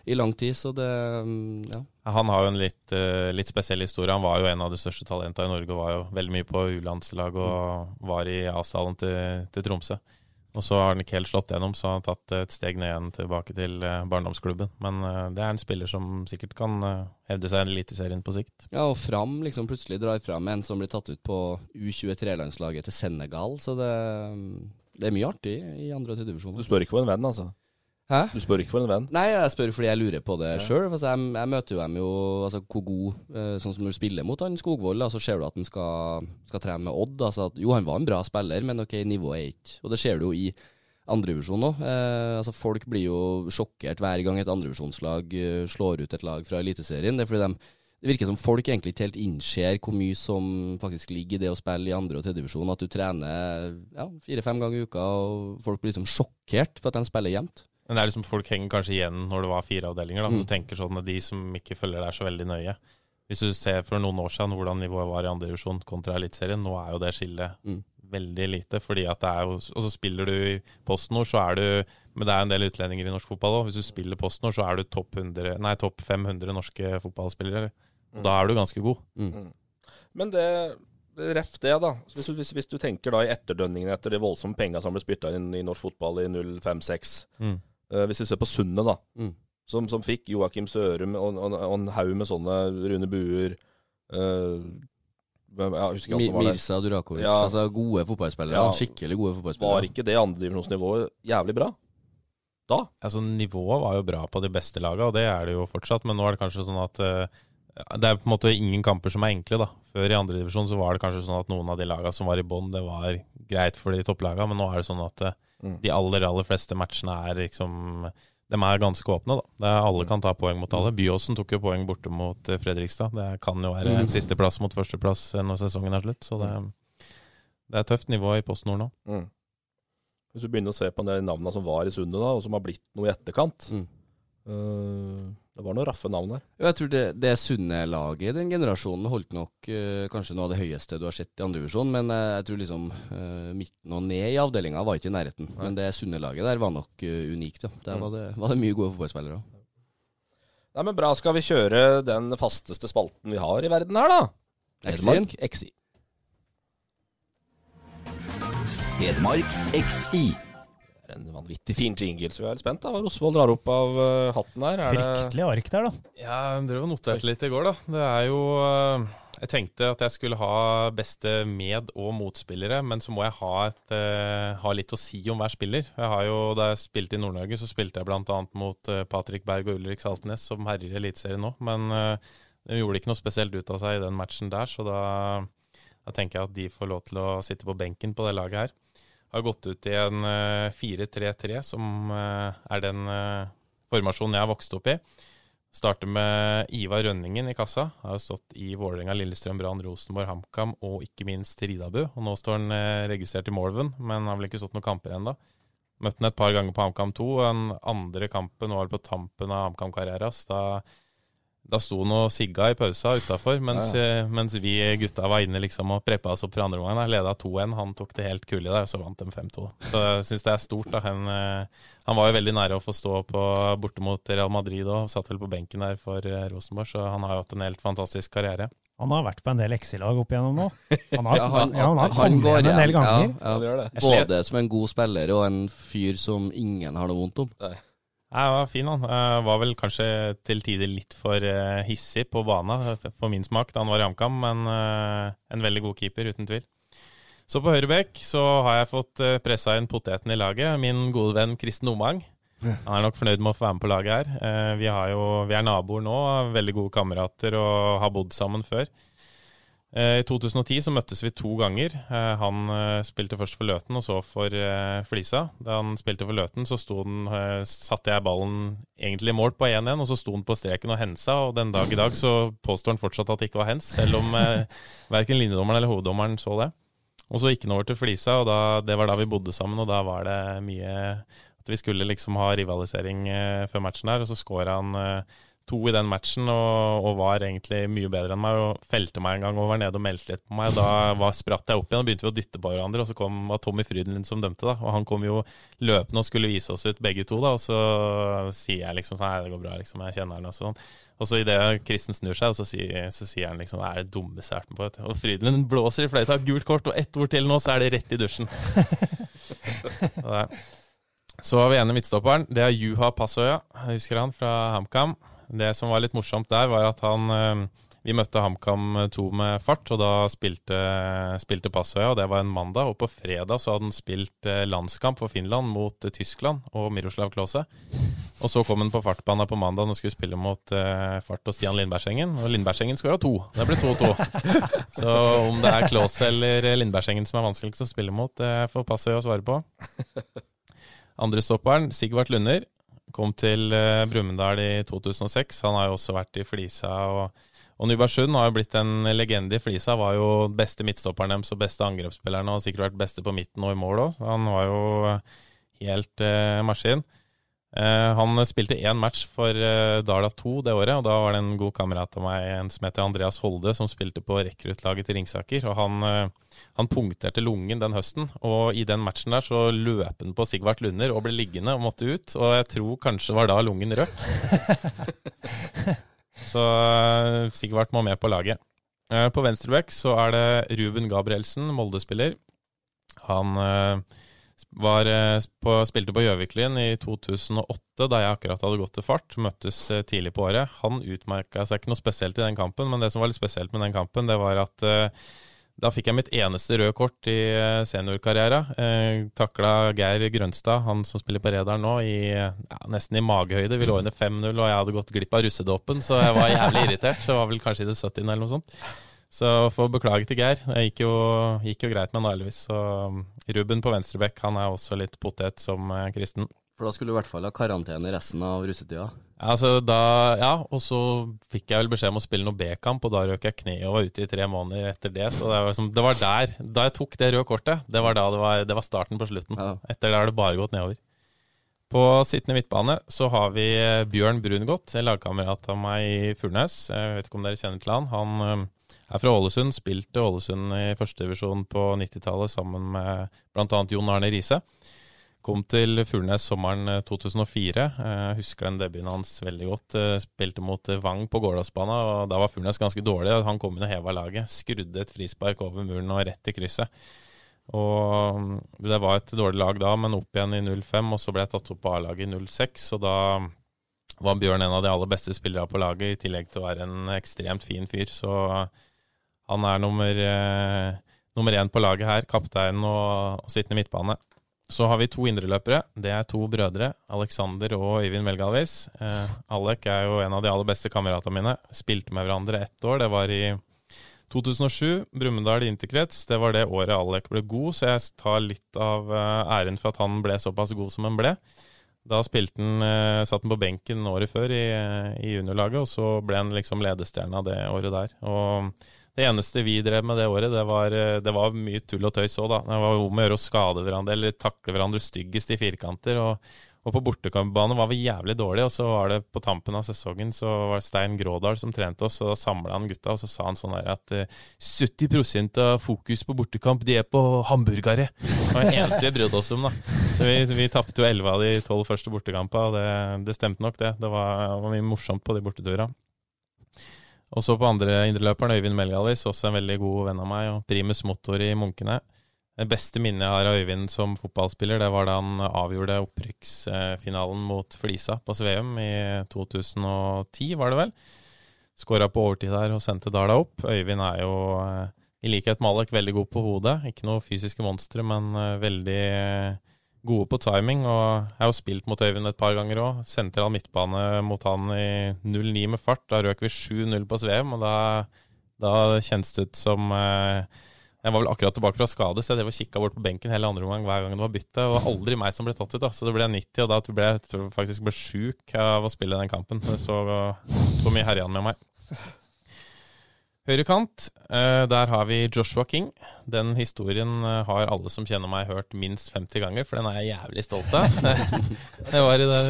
i lang tid, så det mm, Ja.
Han har jo en litt, eh, litt spesiell historie. Han var jo en av de største talentene i Norge og var jo veldig mye på U-landslag og var i A-salen til, til Tromsø. Og så har han ikke helt slått gjennom, så har han tatt et steg ned igjen tilbake til eh, barndomsklubben. Men eh, det er en spiller som sikkert kan eh, hevde seg i Eliteserien på sikt.
Ja, og fram liksom plutselig drar fram en som blir tatt ut på U23-landslaget til Senegal, så det, mm, det er mye artig i andre- og tredjedivisjon.
Du spør ikke for en venn, altså?
Hæ?
Du spør ikke for en venn?
Nei, jeg spør fordi jeg lurer på det selv, sjøl. Altså, jeg, jeg møter jo dem jo altså, hvor god eh, Sånn som når du spiller mot han Skogvold, da, så ser du at han skal, skal trene med Odd. Altså, at, jo, han var en bra spiller, men ok, nivået er ikke Og det ser du jo i andrevisjon òg. Eh, altså, folk blir jo sjokkert hver gang et andrevisjonslag eh, slår ut et lag fra Eliteserien. Det er fordi dem- det virker som folk egentlig ikke helt innser hvor mye som faktisk ligger i det å spille i andre- og tredjedivisjon. At du trener ja, fire-fem ganger i uka, og folk blir liksom sjokkert for at de spiller jevnt.
Men det er liksom folk henger kanskje igjen når det var fire avdelinger. Da. Du tenker sånn at de som ikke følger deg så veldig nøye. Hvis du ser for noen år siden hvordan nivået var i andre divisjon kontra Eliteserien, nå er jo det skillet
Mm.
veldig lite. fordi at det er jo, Og så spiller du i PostNord, så er du Men det er en del utlendinger i norsk fotball òg. Hvis du spiller PostNord, så er du topp 100 nei, topp 500 norske fotballspillere. Og da er du ganske god.
Men det Ref det, da. Hvis du, hvis, hvis du tenker da i etterdønningene etter de voldsomme penga som ble spytta inn i norsk fotball i 05-06
Mm.
Eh, Hvis vi ser på Sundet, da.
Mm.
Som, som fikk Joakim Sørum og, og, og en haug med sånne Rune Buer eh, hvem- Jeg husker ikke alt
Mi-
som var der.
Mirza Durakovic.
Ja.
Altså gode fotballspillere.
Ja.
Skikkelig gode fotballspillere.
Var ikke det andredivisjonsnivået jævlig bra?
Altså Nivået var jo bra på de beste laga, og det er det jo fortsatt. Men nå er det kanskje sånn at eh, det er på en måte ingen kamper som er enkle. da Før i andredivisjon var det kanskje sånn at noen av de laga som var i bånn, det var greit for de topplaga, men nå er det sånn at eh,
Mm.
de aller aller fleste matchene er liksom De er ganske åpne. da det er, Alle kan ta poeng mot alle. Byåsen tok jo poeng borte mot eh, Fredrikstad. Det kan jo være
Mm.
sisteplass mot førsteplass eh, når sesongen er slutt, så det, det er tøft nivå i Post Nord nå.
Hvis du begynner å se på de navna som var i Sundet, da, og som har blitt noe i etterkant
Mm.
eh, Det var noen raffe navn her.
Jo, Jeg tror det, det sunne laget i den generasjonen holdt nok eh, kanskje noe av det høyeste du har sett i andre divisjon, men eh, jeg tror liksom eh, midten og ned i avdelinga var ikke i nærheten. Men det sunne laget der var nok eh, unikt, ja. Der
Mm.
var det, var det mye gode fotballspillere. også.
Nei, men bra. Skal vi kjøre den fasteste spalten vi har i verden her, da?
Hedmark,
XI.
Hedmark XI.
Det er en vanvittig fin jingle, så vi er litt spent. da. Hva Rosvold drar opp av eh, hatten her. Er det
Fryktelig ark der, da.
Ja, jeg drev og noterte litt i går, da. Det er jo eh, Jeg tenkte at jeg skulle ha beste med- og motspillere, men så må jeg ha, et, eh, ha litt å si om hver spiller. Jeg har jo, Da jeg spilte i Nord-Norge, så spilte jeg bl.a. mot eh, Patrick Berg og Ulrik Saltnes, som herjer i Eliteserien nå. Men eh, de gjorde ikke noe spesielt ut av seg i den matchen der, så da, da tenker jeg at de får lov til å sitte på benken på det laget her. Har gått ut i en eh, 4-3-3, som eh, er den eh, formasjonen jeg har vokst opp i. Starter med Ivar Rønningen i kassa. Har jo stått i Vålerenga, Lillestrøm, Brann, Rosenborg, HamKam og ikke minst Ridabu. Og nå står han eh, registrert i Morven, men har vel ikke stått noen kamper ennå. Møtte han et par ganger på HamKam 2. og Den andre kampen var på tampen av HamKam Carreras. Da, da sto han og sigga i pausa utafor, mens, eh, mens vi gutta var inne liksom og preppa oss opp for andre omgang. Leda 2-1. Han tok det helt kule der, og så vant de 5-2. Så jeg syns det er stort. da, han... Eh, han var jo veldig nære å få stå på, borte mot Real Madrid og satt vel på benken der for eh, Rosenborg, så han har jo hatt en helt fantastisk karriere.
Han har vært på en del XI-lag opp igjennom nå. Han
(laughs)
har, ja, han, har
han
kommet
går
igjen en del
igjen, ja,
ganger.
ja.
gjør det.
Både som en god spiller og en fyr som ingen har noe vondt om.
Nei, han var fin, han. Eh, Var vel kanskje til tider litt for eh, hissig på bana, eh, for min smak, da han var i HamKam, men eh, en veldig god keeper, uten tvil. Så på høyrebekk så har jeg fått eh, pressa inn poteten i laget, min gode venn Kristen Omang. Han er nok fornøyd med å få være med på laget her. Eh, Vi, har jo, vi er naboer nå, veldig gode kamerater og har bodd sammen før. Eh, I 2010 så møttes vi to ganger. Eh, Han eh, spilte først for Løten og så for eh, Flisa. Da han spilte for Løten, så sto den, eh, satte jeg ballen egentlig i mål på 1-1, og så sto han på streken og hensa. Og den dag i dag så påstår han fortsatt at det ikke var hens, selv om eh, verken linjedommeren eller hoveddommeren så det. Og så gikk han over til Flisa, og da, det var da vi bodde sammen, og da var det mye at vi skulle liksom ha rivalisering eh, før matchen der, og så skåra han eh, to i den matchen og, og var egentlig mye bedre enn meg. Og felte meg en gang og var nede og meldte litt på meg. Og da var, spratt jeg opp igjen og begynte vi å dytte på hverandre. Og så kom, var Tommy Frydenlund som dømte, da. Og han kom jo løpende og skulle vise oss ut begge to, da. Og så sier jeg liksom sånn Nei, det går bra, liksom. Jeg kjenner han og sånn. Og så idet Kristen snur seg, og så sier, så sier han liksom Det er det dummeste jeg har vært med på. vet du». Og Frydenlund blåser i fløyta. Gult kort og ett ord til nå, så er det rett i dusjen. Og det er- Så har vi ene midtstopperen. Det er Juha Passoja. Jeg husker han fra HamKam. Det som var litt morsomt der, var at han eh, Vi møtte HamKam 2 med fart, og da spilte, spilte Passoja, og det var en mandag. Og på fredag så hadde han spilt eh, landskamp for Finland mot eh, Tyskland og Miroslav Klause. Og så kom han på fartbanen på mandag og skulle spille mot eh, Fart og Stian Lindbergsengen. Og Lindbergsengen skåra to. Det ble 2-2. så om det er Klause eller eh, Lindbergsengen som er vanskeligst å spille mot, det får Passoja svare på. Andre stopperen, Sigvart Lunder, kom til eh, Brumunddal i 2006. Han har jo også vært i Flisa. Og, og Nybergsund har jo blitt en legende i Flisa. Var jo beste midtstopperen deres og beste angrepsspilleren, og har sikkert vært beste på midten og i mål òg. Han var jo helt eh, maskin. Eh, han spilte én match for eh, Dala 2 det året, og da var det en god kamerat av meg, en som heter Andreas Holde, som spilte på rekruttlaget til Ringsaker. Og han, eh, han punkterte lungen den høsten, og i den matchen der så løp han på Sigvart Lunder og ble liggende og måtte ut, og jeg tror kanskje det var da lungen røk. så eh, Sigvart må med på laget. Eh, på venstreback så er det Ruben Gabrielsen, Molde-spiller. Han eh, var, eh, på, spilte på Gjøviklyn i 2008, da jeg akkurat hadde gått til fart. Møttes eh, tidlig på året. Han utmerka seg ikke noe spesielt i den kampen, men det som var litt spesielt med den kampen, det var at eh, da fikk jeg mitt eneste røde kort i eh, seniorkarriera. Eh, Takla Geir Grønstad, han som spiller på Rederen nå, i, eh, ja, nesten i magehøyde. Vi lå under 5-0, og jeg hadde gått glipp av russedåpen, så jeg var jævlig irritert. Så jeg var vel kanskje i det 70. eller noe sånt. Så får beklage til Geir. Det gikk jo, gikk jo greit med han da, heldigvis. Så um, Ruben på venstrebekk, han er også litt potet som eh, kristen.
For da skulle du i hvert fall ha karantene resten av russetida.
Altså, da, ja, og så fikk jeg vel beskjed om å spille noe B-kamp, og da røk jeg kneet og var ute i tre måneder etter det. Så det var, liksom, det var der, da jeg tok det røde kortet, det var da det var, det var starten på slutten.
Ja.
Etter det har det bare gått nedover. På sittende midtbane så har vi eh, Bjørn Brungot, en lagkamerat av meg i Furnes. Jeg vet ikke om dere kjenner til han. Han eh, er fra Ålesund, spilte Ålesund i førstedivisjon på 90-tallet sammen med bl.a. Jon Arne Riise. Kom til Furnes sommeren eh, 2004. Eh, Jeg husker den debuten hans veldig godt. Eh, Spilte mot eh, Vang på Gårdalsbanen, og da var Furnes ganske dårlig. og Han kom inn og heva laget. Skrudde et frispark over muren og rett i krysset. Og mm, det var et dårlig lag da, men opp igjen i 05, og så ble jeg tatt opp på A-laget i 06, og da var Bjørn en av de aller beste spillerne på laget, i tillegg til å være en ekstremt fin fyr. Så han er nummer, eh, nummer én på laget her, kaptein og, og sittende midtbane. Så har vi to indreløpere. Det er to brødre, Alexander og Øyvind Melgalvis. Eh, Alek er jo en av de aller beste kameratene mine. Spilte med hverandre ett år. Det var i 2007, Brumunddal interkrets. Det var det året Alek ble god, så jeg tar litt av eh, æren for at han ble såpass god som han ble. Da spilte han, eh, satt han på benken året før i, eh, i juniorlaget, og så ble han liksom ledestjerna det året der. Og det eneste vi drev med det året, det var, eh, det var mye tull og tøys òg, da. Det var om å gjøre å skade hverandre eller takle hverandre styggest i firkanter. Og, og på bortekampbane var vi jævlig dårlige, og så var det på tampen av sesongen så var det Stein Grådal som trente oss, og da samla han gutta, og så sa han sånn der at eh, 70 av fokus på bortekamp, de er på hamburgere. Det var det eneste vi brydde oss om, da. Så vi, vi tapte jo 11 av de 12 første bortekampene, og det, det stemte nok, det. Det var, var mye morsomt på de borteturene. Og så på andre indreløperen, Øyvind Melgalis, også en veldig god venn av meg, og primus motor i Munkene. Det beste minnet jeg har av Øyvind som fotballspiller, det var da han avgjorde opprykksfinalen mot Flisa på Sveum i 2010, var det vel. Skåra på overtid der og sendte Dala opp. Øyvind er jo, eh, i likhet med Malek, veldig god på hodet. Ikke noe fysiske monstre, men eh, veldig eh, gode på timing. Og jeg har jo spilt mot Øyvind et par ganger òg. Sentral midtbane mot han i 0-9 med fart. Da røk vi 7-0 på Sveum, og da, da kjennes det ut som eh, Jeg var vel akkurat tilbake fra skade, så jeg drev og kikka bort på benken hele andre omgang hver gang det var bytte. Og det var aldri meg som ble tatt ut, da. Så det ble 90, og da ble jeg tror jeg faktisk ble sjuk av å spille den kampen. Så, så mye herja han med meg. Høyre kant, eh, der har vi Joshua King. Den historien eh, har alle som kjenner meg hørt minst 50 ganger, for den er jeg jævlig stolt av. (laughs) Det var i det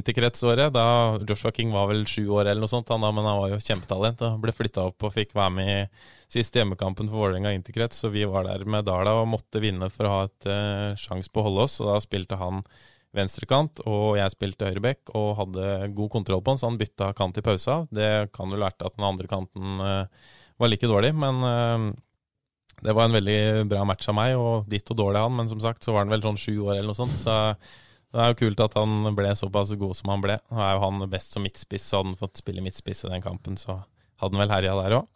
interkretsåret, da Joshua King var vel sju år eller noe sånt, han da, men han var jo kjempetalent og ble flytta opp og fikk være med i siste hjemmekampen for Vålerenga interkrets, så vi var der med Dala og måtte vinne for å ha et eh, sjans på å holde oss, og da spilte han venstrekant, og jeg spilte høyrebekk og hadde god kontroll på han, så han bytta kant i pausa. Det kan vel vært at den andre kanten eh, var like dårlig, men eh, Det var en veldig bra match av meg, og ditt og dårlig han, men som sagt så var han vel sånn sju år eller noe sånt, så det er jo kult at han ble såpass god som han ble. Nå er jo han best som midtspiss, så hadde han fått spille midtspiss i den kampen, så hadde han vel herja der òg.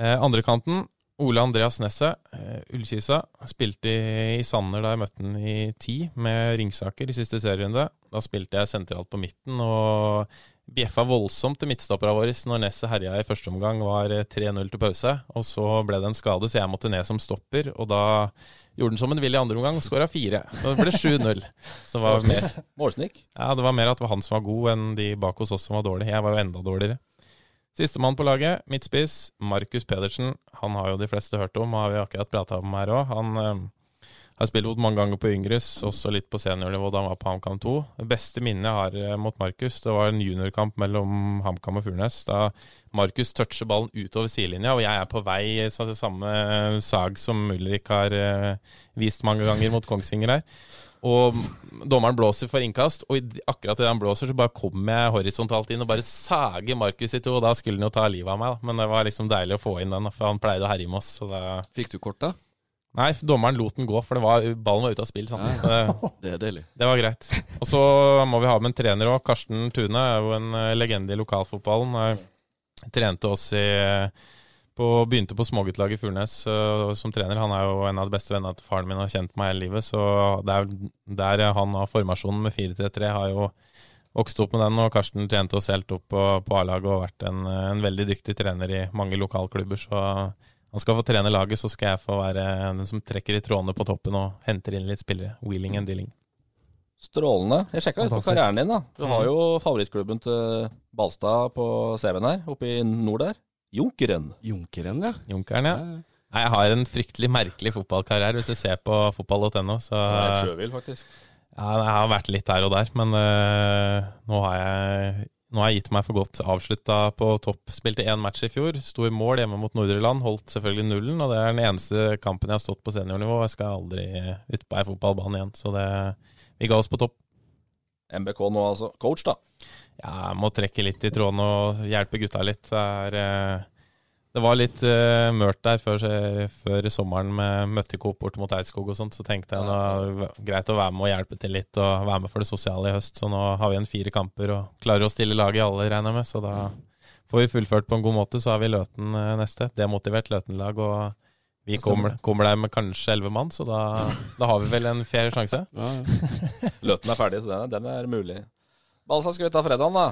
Eh, andre kanten, Ole Andreas Nesset, eh, Ullkisa, spilte i, i Sanner da jeg møtte han i ti, med Ringsaker i siste serierunde. Da spilte jeg sentralt på midten, og bjeffa voldsomt til midtstopperne våre når Nesset herja i første omgang, var eh, 3-0 til pause. Og så ble det en skade, så jeg måtte ned som stopper. Og da gjorde han som han ville i andre omgang, og skåra fire. Så det ble 7-0. Så det var mer.
Målsnik.
Ja, det var mer at det var han som var god, enn de bak hos oss som var dårlige. Jeg var jo enda dårligere. Sistemann på laget, midtspiss, Markus Pedersen. Han har jo de fleste hørt om, og har vi akkurat prata om her òg. Han eh, har spilt mot mange ganger på yngres, også litt på seniornivå da han var på HamKam 2. Det beste minnet jeg har eh, mot Markus, det var en juniorkamp mellom HamKam og Furnes. Da Markus toucher ballen utover sidelinja, og jeg er på vei eh, så- samme sag som Ulrik har eh, vist mange ganger mot Kongsvinger her. Og dommeren blåser for innkast, og i- akkurat idet han blåser, så bare kommer jeg horisontalt inn og bare sager Markus i to. Og da skulle han jo ta livet av meg, da. men det var liksom deilig å få inn den, da, for han pleide å herje med oss. Så da
Fikk du kort, da?
Nei, dommeren lot den gå, for det var, ballen var ute av spill. Sånn. Det,
Det er deilig.
det var greit. Og så må vi ha med en trener òg. Karsten Tune er jo en eh, legende i lokalfotballen. Eh, Trente oss i eh, på, Begynte på småguttlaget i Furnes eh, som trener. Han er jo en av de beste vennene til faren min og har kjent meg hele livet. Så det er vel der eh, han har formasjonen med 4-3-3, har jo vokst opp med den. Og Karsten trente oss helt opp på, på A-laget og har vært en, eh, en veldig dyktig trener i mange lokalklubber. Så han skal få trene laget, så skal jeg få være den som trekker i trådene på toppen og henter inn litt spillere. Wheeling and dealing.
Strålende. Jeg sjekka litt på
Fantastisk.
karrieren din. da Du har jo favorittklubben til Balstad på CV-en her, oppe i nord der. Junkeren.
Junkeren, ja.
Junkeren, ja. Nei, jeg har en fryktelig merkelig fotballkarriere, hvis du ser på fotball.no. Så ja,
Sjøvill, faktisk.
jeg har vært litt der og der, men eh, nå, har jeg, nå har jeg gitt meg for godt. Avslutta på topp. Spilte én match i fjor. Sto i mål hjemme mot Nordre Land. Holdt selvfølgelig nullen, og det er den eneste kampen jeg har stått på seniornivå. Jeg skal aldri ut på ei fotballbane igjen, så det, vi ga oss på topp.
MBK nå, altså. Coach, da.
Ja, jeg må trekke litt i trådene og hjelpe gutta litt. Det, er, eh, det var litt eh, mørkt der før, før sommeren med møtte Coop bort mot Eidskog og sånt, så tenkte jeg nå er det greit å være med og hjelpe til litt, og være med for det sosiale i høst. Så nå har vi igjen fire kamper og klarer å stille laget i alle, regner jeg med. Så da får vi fullført på en god måte, så har vi Løten eh, neste. Demotivert Løten-lag. og vi kommer, kommer der med kanskje elleve mann, så da, da har vi vel en fair sjanse.
Ja, ja.
Løten er ferdig, så den, den er mulig. Balstad skal vi ta fredagen, da.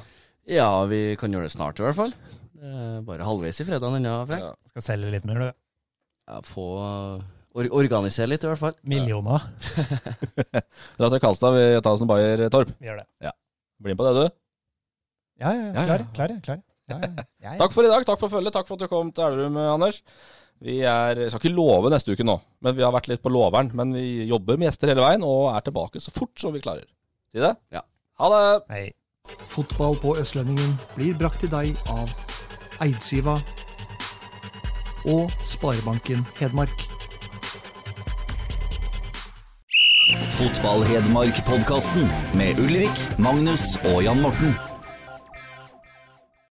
Ja, vi kan gjøre det snart i hvert fall. Det er bare halvveis i fredagen ennå, Frank.
Ja.
Skal selge litt mer, du.
Ja, få or organisere litt, i hvert fall.
Millioner.
Dra til Kalstad, vi tar oss en Bayer Torp.
Vi gjør det.
Bli med på det, du.
Ja, ja, ja.
Ja, ja.
Klar, klar, klar. Ja, ja. Ja, ja.
Takk for i dag, takk for følget, takk for at du kom til Elverum, Anders. Vi er, jeg skal ikke love neste uke nå, men vi har vært litt på loveren. Men vi jobber med gjester hele veien, og er tilbake så fort som vi klarer. Si det?
Ja.
Ha det!
Hei.
Fotball på Østlendingen blir brakt til deg av Eidsiva og Sparebanken Hedmark.
Fotball-Hedmark-podkasten med Ulrik, Magnus og Jan Morten.